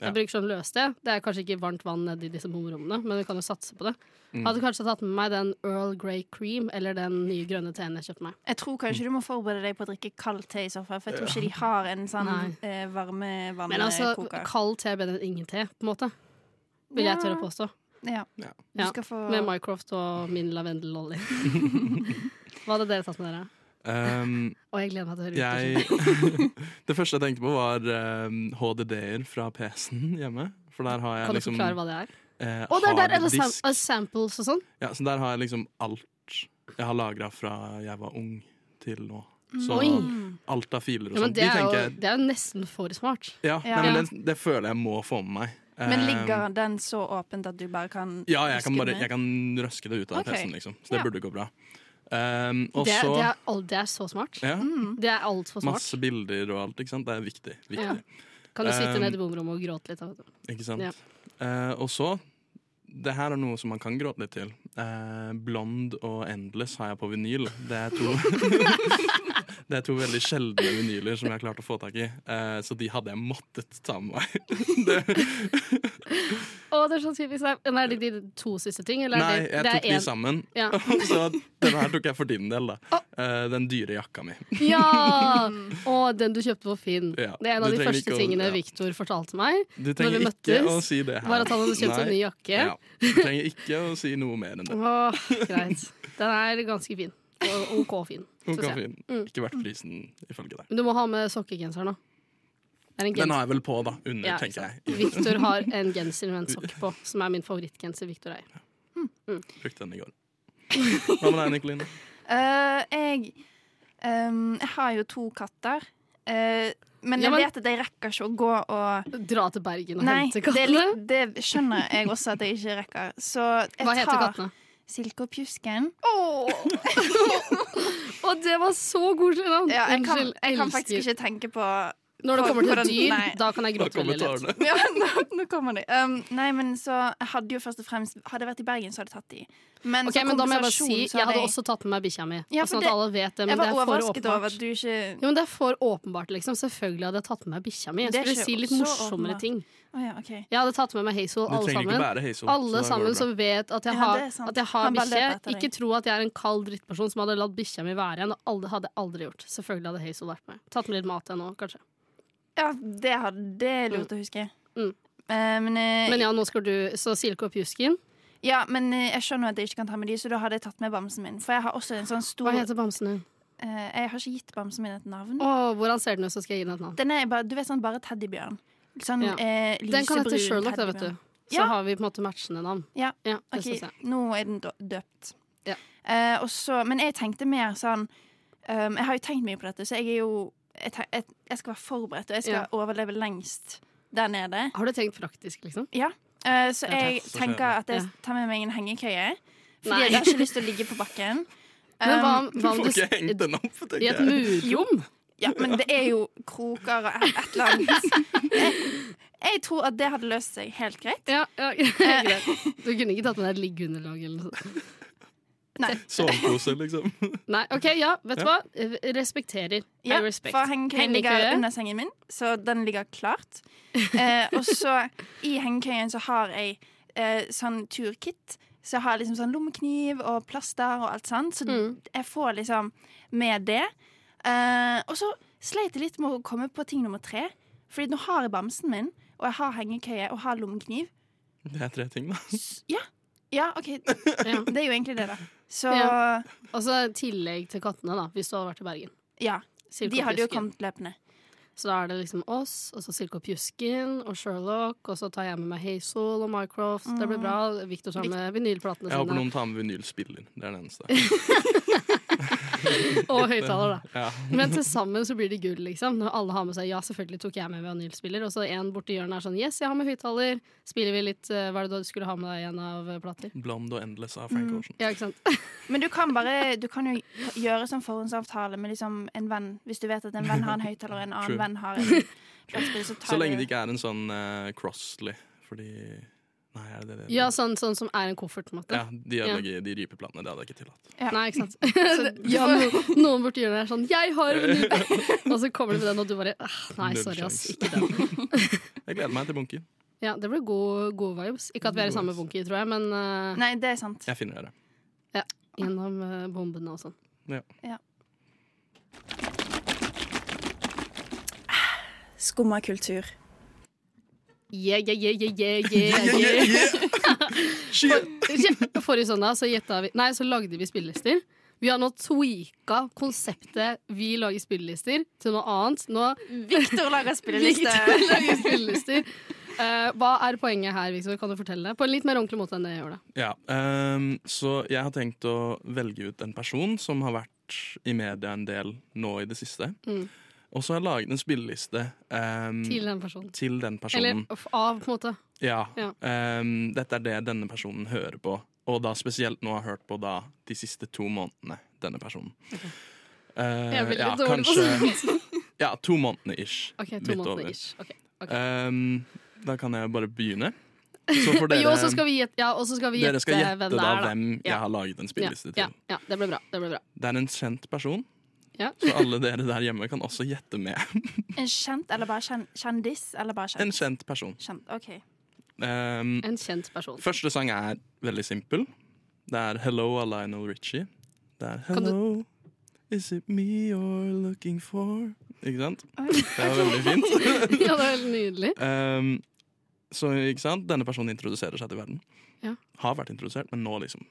Speaker 5: Ja.
Speaker 3: Jeg bruker sånn løste. Det er kanskje ikke varmt vann nedi disse bomrommene, men vi kan jo satse på det. Jeg
Speaker 5: Mm.
Speaker 3: Hadde kanskje tatt med meg den Earl Grey Cream eller den nye grønne teen jeg kjøpte meg.
Speaker 4: Jeg tror kanskje du må forberede deg på å drikke kald te i så fall, for jeg tror ikke de har en sånn
Speaker 3: Nei.
Speaker 4: eh, varme
Speaker 3: Men altså,
Speaker 4: vannkoker.
Speaker 3: kald te er bedre enn ingen te, på en måte. Vil jeg tørre å påstå.
Speaker 4: Ja.
Speaker 5: Ja.
Speaker 4: Du
Speaker 3: Ja,
Speaker 4: skal få
Speaker 3: Med Mycroft og min lavendelolje. Hva hadde dere tatt med dere?
Speaker 5: Um,
Speaker 3: Og jeg gleder meg til å høre utforskningen.
Speaker 5: jeg, det første jeg tenkte på, var um, HDD-er fra PC-en hjemme. For der har jeg
Speaker 3: Kan du
Speaker 5: liksom
Speaker 3: forklare hva det er?
Speaker 5: eh,
Speaker 3: Og det sånn- er der alle sam
Speaker 5: harddisk.
Speaker 3: alle samples og sånn.
Speaker 5: Ja, så der har jeg liksom alt jeg har lagra fra jeg var ung til nå.
Speaker 3: Mm.
Speaker 5: Så
Speaker 3: Oi.
Speaker 5: alt av filer og
Speaker 3: Ja, men
Speaker 5: sånn.
Speaker 3: det,
Speaker 5: De
Speaker 3: er jo,
Speaker 5: tenker jeg
Speaker 3: det er jo nesten for smart.
Speaker 5: Ja,
Speaker 4: Ja.
Speaker 5: Nei, men det, det føler jeg må få med meg.
Speaker 4: Men
Speaker 5: Eh,
Speaker 4: ligger den så åpent at du bare kan
Speaker 5: Ja, jeg kan,
Speaker 4: huske
Speaker 5: bare,
Speaker 4: den?
Speaker 5: jeg kan røske det ut av
Speaker 4: Ok.
Speaker 5: PC-en, liksom. Så det
Speaker 4: Ja.
Speaker 5: burde gå bra. Um, og
Speaker 3: Det,
Speaker 5: så
Speaker 3: det, er, all- det er så smart.
Speaker 5: ja,
Speaker 3: Det er altfor smart.
Speaker 5: Masse bilder og alt, ikke sant. Det er viktig. viktig.
Speaker 3: Ja. Kan du sitte
Speaker 5: Um,
Speaker 3: nede i bomrommet og gråte litt? av det?
Speaker 5: Ikke sant?
Speaker 3: Ja.
Speaker 5: Eh, og så Det her er noe som man kan gråte litt til. Eh, Blond og Endless har jeg på vinyl. Det er to Det er to veldig sjeldne vinyler som jeg har klart å få tak i. Eh, så de hadde jeg måttet ta med meg.
Speaker 3: Å, det er så typisk deg. Men Er det de to siste ting? Eller er
Speaker 5: Nei,
Speaker 3: det,
Speaker 5: jeg
Speaker 3: det
Speaker 5: tok
Speaker 3: er
Speaker 5: de
Speaker 3: en-
Speaker 5: sammen.
Speaker 3: Ja.
Speaker 5: Så den her tok jeg for din del, da. Eh, den dyre jakka mi.
Speaker 3: Ja! Og den du kjøpte på Finn.
Speaker 5: Ja,
Speaker 3: Det er en
Speaker 5: du
Speaker 3: av de
Speaker 5: trenger
Speaker 3: første
Speaker 5: ikke å-
Speaker 3: tingene
Speaker 5: ja.
Speaker 3: Victor fortalte meg.
Speaker 5: Du
Speaker 3: Når vi
Speaker 5: trenger ikke
Speaker 3: møttes,
Speaker 5: å si det her.
Speaker 3: Var at han hadde kjøpt seg
Speaker 5: Nei.
Speaker 3: ny jakke.
Speaker 5: Ja. Du trenger ikke å si noe mer enn det.
Speaker 3: Åh, greit. Den er ganske fin. Og OK fin.
Speaker 5: Hun
Speaker 3: synes
Speaker 5: kan
Speaker 3: jeg.
Speaker 5: fin- Ikke verdt prisen, ifølge deg.
Speaker 3: Men du må ha med sokkegenseren, da. Det er en
Speaker 5: Den
Speaker 3: genser.
Speaker 5: har jeg vel på, da. Under,
Speaker 3: Ja,
Speaker 5: tenker jeg.
Speaker 3: Victor har en genser med en sokk på, som er min favorittgenser Victor eier.
Speaker 5: Brukte den i går. Hva med deg, Nikoline?
Speaker 4: Eh, jeg, ehm, jeg har jo to katter. Eh, men
Speaker 3: Ja,
Speaker 4: jeg
Speaker 3: men-
Speaker 4: vet at jeg rekker ikke å gå og
Speaker 3: Dra til Bergen og
Speaker 4: Nei,
Speaker 3: hente
Speaker 4: det,
Speaker 3: kattene.
Speaker 4: er litt, det skjønner jeg også at jeg ikke rekker. Så jeg
Speaker 3: Hva heter
Speaker 4: tar
Speaker 3: kattene?
Speaker 4: Silke og Pjusken.
Speaker 3: Å, det var så koselig navn!
Speaker 4: Ja, jeg kan,
Speaker 3: Unnskyld,
Speaker 4: jeg kan
Speaker 3: elsker.
Speaker 4: faktisk ikke tenke på
Speaker 3: Når det
Speaker 4: på-
Speaker 3: kommer
Speaker 4: på
Speaker 3: til
Speaker 4: den-
Speaker 3: dyr,
Speaker 4: nei.
Speaker 3: da kan jeg
Speaker 5: Da
Speaker 3: gråte
Speaker 5: kommer
Speaker 3: veldig lett.
Speaker 5: tårene.
Speaker 4: ja, nå, nå kommer de. Um, nei, men så jeg hadde jo først og fremst Hadde jeg vært i Bergen, så hadde jeg tatt de. Men,
Speaker 3: Ok,
Speaker 4: så
Speaker 3: men da må jeg bare
Speaker 4: Altså, kompensasjon,
Speaker 3: si
Speaker 4: så
Speaker 3: Jeg hadde også tatt med meg bikkja mi.
Speaker 4: Ja,
Speaker 3: og
Speaker 4: for
Speaker 3: sånn at
Speaker 4: det-
Speaker 3: alle vet det, men
Speaker 4: Jeg
Speaker 3: det
Speaker 4: var
Speaker 3: er for
Speaker 4: overrasket over
Speaker 3: åpenbart.
Speaker 4: at du ikke
Speaker 3: Jo, men det er for åpenbart, liksom. Selvfølgelig hadde jeg tatt med meg bikkja mi. Jeg
Speaker 4: Det er
Speaker 3: skulle
Speaker 4: ikke
Speaker 3: si litt
Speaker 4: så
Speaker 3: morsommere
Speaker 4: åpenbart.
Speaker 3: ting.
Speaker 4: Å ja, OK.
Speaker 3: Jeg hadde tatt med meg Hazel,
Speaker 5: Du
Speaker 3: alle
Speaker 5: trenger ikke
Speaker 3: sammen.
Speaker 5: bære Hazel.
Speaker 3: Alle
Speaker 5: så da går
Speaker 3: sammen
Speaker 5: det bra.
Speaker 3: som vet at jeg
Speaker 4: Ja,
Speaker 3: har,
Speaker 4: det er sant.
Speaker 3: at jeg har
Speaker 4: Han bare
Speaker 3: bikkje.
Speaker 4: løper etter deg.
Speaker 3: Ikke tro at jeg er en kald drittperson som hadde latt bikkja mi være igjen. Og alle hadde jeg aldri gjort. Selvfølgelig hadde Hazel vært med. Tatt med litt mat igjen nå, kanskje.
Speaker 4: Ja, det, hadde, det er lurt å huske.
Speaker 3: Mm.
Speaker 4: Eh, men, eh,
Speaker 3: Men ja, nå skal du Så Silke og Pjusken.
Speaker 4: Ja, men eh, jeg skjønner at jeg ikke kan ta med de, så da hadde jeg tatt med bamsen min. For jeg har også en sånn stor
Speaker 3: Hva heter bamsen din?
Speaker 4: eh, Jeg har ikke gitt bamsen min et navn.
Speaker 3: Å, hvordan ser den ut, så skal jeg gi den et navn.
Speaker 4: Den er bare, du vet sånn bare teddybjørn. Sånn
Speaker 3: Ja.
Speaker 4: eh, lysebrun
Speaker 3: Den kan hete Sherlock, da, vet du. Så
Speaker 4: Ja.
Speaker 3: har vi på en måte matchende navn.
Speaker 4: Ja,
Speaker 3: Ja, det
Speaker 4: Ok,
Speaker 3: synes jeg.
Speaker 4: nå er den dø- døpt.
Speaker 3: Ja.
Speaker 4: Eh, og så- men jeg tenkte mer sånn um, Jeg har jo tenkt mye på dette, så jeg er jo Jeg, te- jeg, jeg skal være forberedt, og jeg skal
Speaker 3: Ja.
Speaker 4: overleve lengst der nede.
Speaker 3: Har du tenkt praktisk, liksom?
Speaker 4: Ja. Eh, så
Speaker 3: Ja,
Speaker 4: jeg
Speaker 5: takk.
Speaker 4: tenker at jeg
Speaker 3: Ja.
Speaker 4: tar med meg en hengekøye. Fordi
Speaker 3: Nei.
Speaker 4: jeg har ikke lyst til å ligge på bakken.
Speaker 3: Men hva,
Speaker 4: Um,
Speaker 3: om- hva om
Speaker 5: Får
Speaker 3: du
Speaker 5: ikke hengt den opp, tenker
Speaker 3: I et
Speaker 5: jeg.
Speaker 3: murrom?
Speaker 4: Ja, men det er jo kroker og et et eller annet. Jeg, jeg tror at det hadde løst seg helt greit.
Speaker 3: Ja, ja, greit. Du kunne ikke tatt med deg et liggeunderlag eller noe sånt?
Speaker 5: Sovepose, liksom.
Speaker 3: Nei, OK, ja, vet du
Speaker 5: Ja.
Speaker 3: hva? Eh, Respekterer. I
Speaker 4: Ja,
Speaker 3: respect.
Speaker 4: for hengekøyen ligger
Speaker 3: Hengekøye.
Speaker 4: under sengen min, så den ligger klart. Eh, og så i hengekøyen så har jeg eh, sånn turkit. Så jeg har liksom sånn lommekniv og plaster og alt sånt. Så
Speaker 3: Mm.
Speaker 4: jeg får liksom med det. Eh, og så sleit jeg litt med å komme på ting nummer tre. Fordi nå har jeg bamsen min, og jeg har hengekøye og har lommekniv.
Speaker 5: Det er tre ting, da.
Speaker 3: Sånn
Speaker 4: S- Ja, ja OK.
Speaker 3: Ja.
Speaker 4: Det er jo egentlig det, da. Så
Speaker 3: Ja. Og så i tillegg til kattene, da, hvis du hadde vært i Bergen.
Speaker 4: ja.
Speaker 3: Silke
Speaker 4: De
Speaker 3: og
Speaker 4: hadde jo
Speaker 3: Pjusken.
Speaker 4: kommet løpende.
Speaker 3: Så da er det liksom oss, og så Silke og Pjusken og Sherlock, og så tar jeg med meg Hazel og Mycroft. Det blir bra.
Speaker 4: Mm.
Speaker 3: Victor tar med vinylplatene
Speaker 5: Jeg håper
Speaker 3: sine.
Speaker 5: noen tar med vinylspiller. Det er det eneste.
Speaker 3: Og høyttaler, da.
Speaker 5: Ja.
Speaker 3: Men til sammen så blir det gull, liksom. Når alle har med seg Ja, selvfølgelig tok jeg med vinylspiller. Og så en borti hjørnet er sånn Yes, jeg har med høyttaler. Spiller vi litt eh, Hva er det du skulle ha med deg igjen av eh, plater?
Speaker 5: Blond og Endless av Frank Ocean.
Speaker 3: Ja, ikke sant?
Speaker 4: Men du kan, bare, du kan jo gjøre sånn forhåndsavtale med liksom en venn. Hvis du vet at en venn har en høyttaler, og en annen
Speaker 5: True.
Speaker 4: venn har en plattspill, så tar
Speaker 5: Så lenge
Speaker 4: du
Speaker 5: det ikke er en sånn eh, Crossley, fordi Nei, er det det? det?
Speaker 3: Ja, sånn, sånn som er en koffert, på en måte.
Speaker 5: Ja, de ødelegger de rypeplanene. Det hadde jeg ikke tillatt.
Speaker 4: Ja.
Speaker 3: Nei, ikke sant. Ja, no, noen borti hjørnet er sånn 'Jeg har vinyl!' Og så kommer du med den, og du bare «Ah, Nei,
Speaker 5: Null
Speaker 3: sorry, ass.
Speaker 5: sjans.
Speaker 3: Ikke den.
Speaker 5: Jeg gleder meg til bunken.
Speaker 3: Ja, det blir gode, gode vibes. Ikke at vi er i samme bunker, tror jeg, men eh,
Speaker 4: Nei, det er sant.
Speaker 5: Jeg finner dere.
Speaker 3: gjennom eh, bombene og sånn.
Speaker 4: Skumma kultur.
Speaker 3: Yeah, yeah, yeah, yeah, yeah, yeah, yeah. For, forrige søndag så, gjetta vi, nei, så lagde vi spillelister. Vi har nå tweaka konseptet 'vi lager spillelister' til noe annet. Nå
Speaker 4: Mm, Victor lager spilleliste.
Speaker 3: Victor lager spillelister. Eh, hva er poenget her, Victor? Kan du fortelle det? På en litt mer ordentlig måte enn det jeg gjør det.
Speaker 5: Ja, ehm, så jeg har tenkt å velge ut en person som har vært i media en del nå i det siste.
Speaker 3: Mm.
Speaker 5: Og så har jeg laget en spilleliste ehm,
Speaker 3: Til den personen.
Speaker 5: til den
Speaker 3: Eller
Speaker 5: personen.
Speaker 3: f- av, på en måte.
Speaker 5: ja.
Speaker 3: ja.
Speaker 5: ehm, dette er det denne personen hører på, og da spesielt nå har jeg hørt på da de siste to månedene. Denne personen. Eh,
Speaker 3: Jeg er veldig
Speaker 5: ja,
Speaker 3: dårlig på
Speaker 5: kanskje-
Speaker 3: sånt.
Speaker 5: Ja, to månedene ish.
Speaker 3: Ok, to
Speaker 5: Litt
Speaker 3: måneder
Speaker 5: over.
Speaker 3: ish. Ok, ok.
Speaker 5: Ehm, da kan jeg bare begynne. Så får dere,
Speaker 3: Jo, og så skal vi gjette, ja, og så skal vi
Speaker 5: dere skal
Speaker 3: gjette
Speaker 5: gjette
Speaker 3: hvem det
Speaker 5: da
Speaker 3: er. da.
Speaker 5: hvem
Speaker 3: Ja.
Speaker 5: jeg har laget en spilleliste til.
Speaker 3: ja, ja, ja, det ble bra. Det ble bra.
Speaker 5: Det er en kjent person,
Speaker 3: Ja.
Speaker 5: så alle dere der hjemme kan også gjette med.
Speaker 4: En kjent eller bare kjen, kjendis? Eller bare
Speaker 5: En
Speaker 4: kjent?
Speaker 5: kjent person.
Speaker 4: kjent. OK.
Speaker 5: Ehm,
Speaker 3: En kjent person.
Speaker 5: første sang er veldig simpel. Det er 'Hello' av Lionel Richie. Det er
Speaker 3: Kan du-
Speaker 5: 'Hello, is it me you're looking for?' Ikke sant?
Speaker 4: Oi.
Speaker 5: Det var veldig fint.
Speaker 3: Ja, det var helt nydelig.
Speaker 5: Ehm, så ikke sant? denne personen introduserer seg til verden.
Speaker 3: Ja.
Speaker 5: Har vært introdusert, men nå liksom.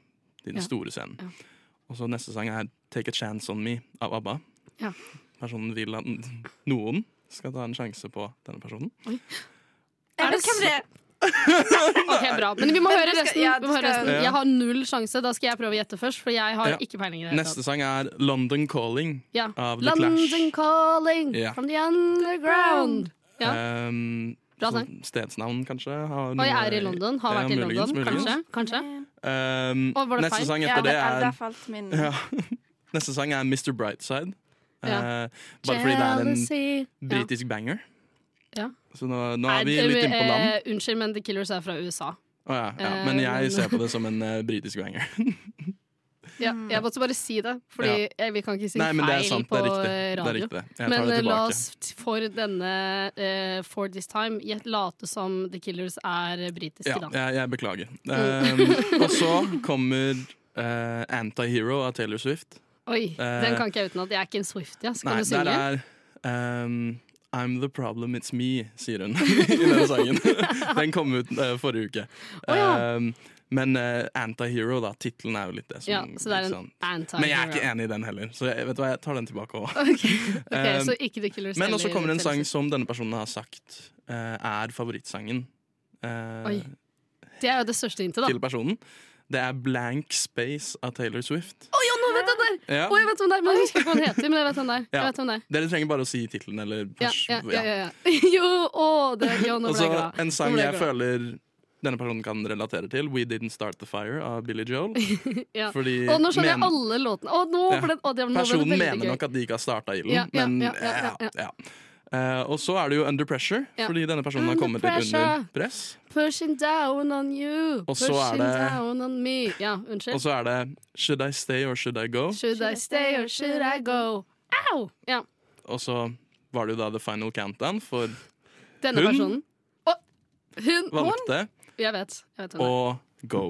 Speaker 5: I den
Speaker 3: Ja.
Speaker 5: store scenen.
Speaker 3: Ja.
Speaker 5: Og så neste sang er 'Take a Chance On Me' av ABBA.
Speaker 3: Ja.
Speaker 5: Personen vil at n- noen skal ta en sjanse på denne personen.
Speaker 4: Jeg
Speaker 3: Er det
Speaker 4: vet hvem det er.
Speaker 3: Ok, bra. Men vi må
Speaker 4: Men
Speaker 3: høre
Speaker 4: du skal-
Speaker 3: resten.
Speaker 4: ja,
Speaker 3: vi
Speaker 4: du
Speaker 3: må høre
Speaker 4: skal-
Speaker 3: resten.
Speaker 5: Ja.
Speaker 3: Jeg har null sjanse. Da skal jeg prøve å gjette først, for jeg har
Speaker 5: Ja.
Speaker 3: ikke peiling. i det hele
Speaker 5: Neste sang er 'London Calling'.
Speaker 3: tatt. ja.
Speaker 5: av The
Speaker 3: London
Speaker 5: Clash.
Speaker 3: calling
Speaker 5: Ja.
Speaker 3: from the underground. Ja.
Speaker 5: Ehm,
Speaker 3: Bra
Speaker 5: så
Speaker 3: sang.
Speaker 5: stedsnavn, kanskje. har
Speaker 3: Og jeg
Speaker 5: noe-
Speaker 3: er i London. Har
Speaker 5: Ja,
Speaker 3: vært i
Speaker 5: muligens,
Speaker 3: London.
Speaker 5: muligens.
Speaker 3: Kanskje. kanskje.
Speaker 5: Ehm,
Speaker 3: Å, var det
Speaker 5: neste
Speaker 3: feil?
Speaker 5: sang
Speaker 4: Ja,
Speaker 5: etter
Speaker 4: det, er-
Speaker 5: det
Speaker 4: der
Speaker 5: er
Speaker 4: falt min.
Speaker 5: ja. Neste sang er 'Mr. Brightside'.
Speaker 3: Ja.
Speaker 5: Eh, bare fordi det er en
Speaker 3: Jealousy.
Speaker 5: britisk banger.
Speaker 3: Ja.
Speaker 5: Så nå, nå
Speaker 3: Nei,
Speaker 5: er vi litt inne på land.
Speaker 3: eh, Unnskyld, men The Killers er fra USA.
Speaker 5: Å ja, ja.
Speaker 3: eh,
Speaker 5: Men
Speaker 3: men-
Speaker 5: jeg ser på det som en eh, britisk banger.
Speaker 3: Ja, jeg måtte bare si det, Fordi
Speaker 5: Ja.
Speaker 3: jeg, vi kan ikke si
Speaker 5: Nei, men
Speaker 3: feil
Speaker 5: det er sant.
Speaker 3: på
Speaker 5: Det er riktig.
Speaker 3: eh,
Speaker 5: Det
Speaker 3: radio.
Speaker 5: er riktig. Jeg tar
Speaker 3: Men
Speaker 5: det
Speaker 3: eh, la
Speaker 5: tilbake.
Speaker 3: oss t- for denne eh, For This Time gjett- late som The Killers er eh, britiske,
Speaker 5: Ja,
Speaker 3: da. Oh.
Speaker 5: jeg, jeg beklager. Eh, og så kommer eh, Antihero av Taylor Swift.
Speaker 3: Oi,
Speaker 5: Eh,
Speaker 3: den kan ikke jeg utenat. Jeg er ikke en Swiftie. ass. Kan
Speaker 5: Nei,
Speaker 3: du
Speaker 5: der
Speaker 3: synge?
Speaker 5: er ehm, I'm the problem, it's me, sier hun i den sangen. Den kom ut eh, forrige uke.
Speaker 3: Å ja.
Speaker 5: Ehm, Men eh, antihero, da. Tittelen er jo litt det som
Speaker 3: Ja, så det er
Speaker 5: sånn, ikke
Speaker 3: en
Speaker 5: sant?
Speaker 3: anti
Speaker 5: Men jeg er ikke enig i den heller, så jeg, vet du hva, jeg tar den tilbake også.
Speaker 3: Ok, så ikke The Killers
Speaker 5: Eh, Men også
Speaker 3: eller
Speaker 5: kommer det en sang
Speaker 3: Telesis.
Speaker 5: som denne personen har sagt eh, er favorittsangen eh,
Speaker 3: Oi. Det er jo det største hintet, da.
Speaker 5: til personen. Det er 'Blank Space' av Taylor Swift.
Speaker 3: Å ja, nå vet jeg den der!
Speaker 5: Ja.
Speaker 3: Å, jeg vet hvem det er, men jeg husker ikke hva den heter. Men jeg vet hvem det er.
Speaker 5: Ja.
Speaker 3: Jeg vet hvem det er.
Speaker 5: Dere trenger bare å si tittelen eller
Speaker 3: Ja,
Speaker 5: pers-
Speaker 3: ja, ja,
Speaker 5: ja.
Speaker 3: ja, ja. Jo, å, det, jo, nå
Speaker 5: Og
Speaker 3: ble
Speaker 5: så
Speaker 3: jeg glad.
Speaker 5: en
Speaker 3: Nå
Speaker 5: sang
Speaker 3: ble
Speaker 5: jeg
Speaker 3: glad.
Speaker 5: føler denne personen kan relatere til. 'We Didn't Start The Fire' av Billy Joel.
Speaker 3: Ja.
Speaker 5: Fordi
Speaker 3: Å, nå skjønner jeg
Speaker 5: men-
Speaker 3: alle låtene. Å, nå
Speaker 5: Ja.
Speaker 3: ble det, å, det, nå ble
Speaker 5: Personen
Speaker 3: det
Speaker 5: mener
Speaker 3: veldig gøy.
Speaker 5: nok at de ikke har starta ilden,
Speaker 3: Ja, ja,
Speaker 5: men
Speaker 3: ja, ja, ja,
Speaker 5: ja. Eh, og så er det jo 'Under Pressure',
Speaker 3: Ja.
Speaker 5: fordi denne personen har
Speaker 3: Under
Speaker 5: kommet litt under
Speaker 3: pressure.
Speaker 5: press.
Speaker 3: Pushing down on you,
Speaker 5: Og så er
Speaker 3: pushing
Speaker 5: det-
Speaker 3: down on me. Ja,
Speaker 5: Og
Speaker 3: unnskyld.
Speaker 5: så er det 'Should I Stay Or Should I Go'?
Speaker 3: Should I stay or should I go? Au! Ja,
Speaker 5: Og så var det jo da The Final Countdown for
Speaker 3: denne
Speaker 5: Hun?
Speaker 3: personen. Å, hun, hun?
Speaker 5: valgte,
Speaker 3: Jeg vet. Jeg vet hvem det er.
Speaker 5: og Go.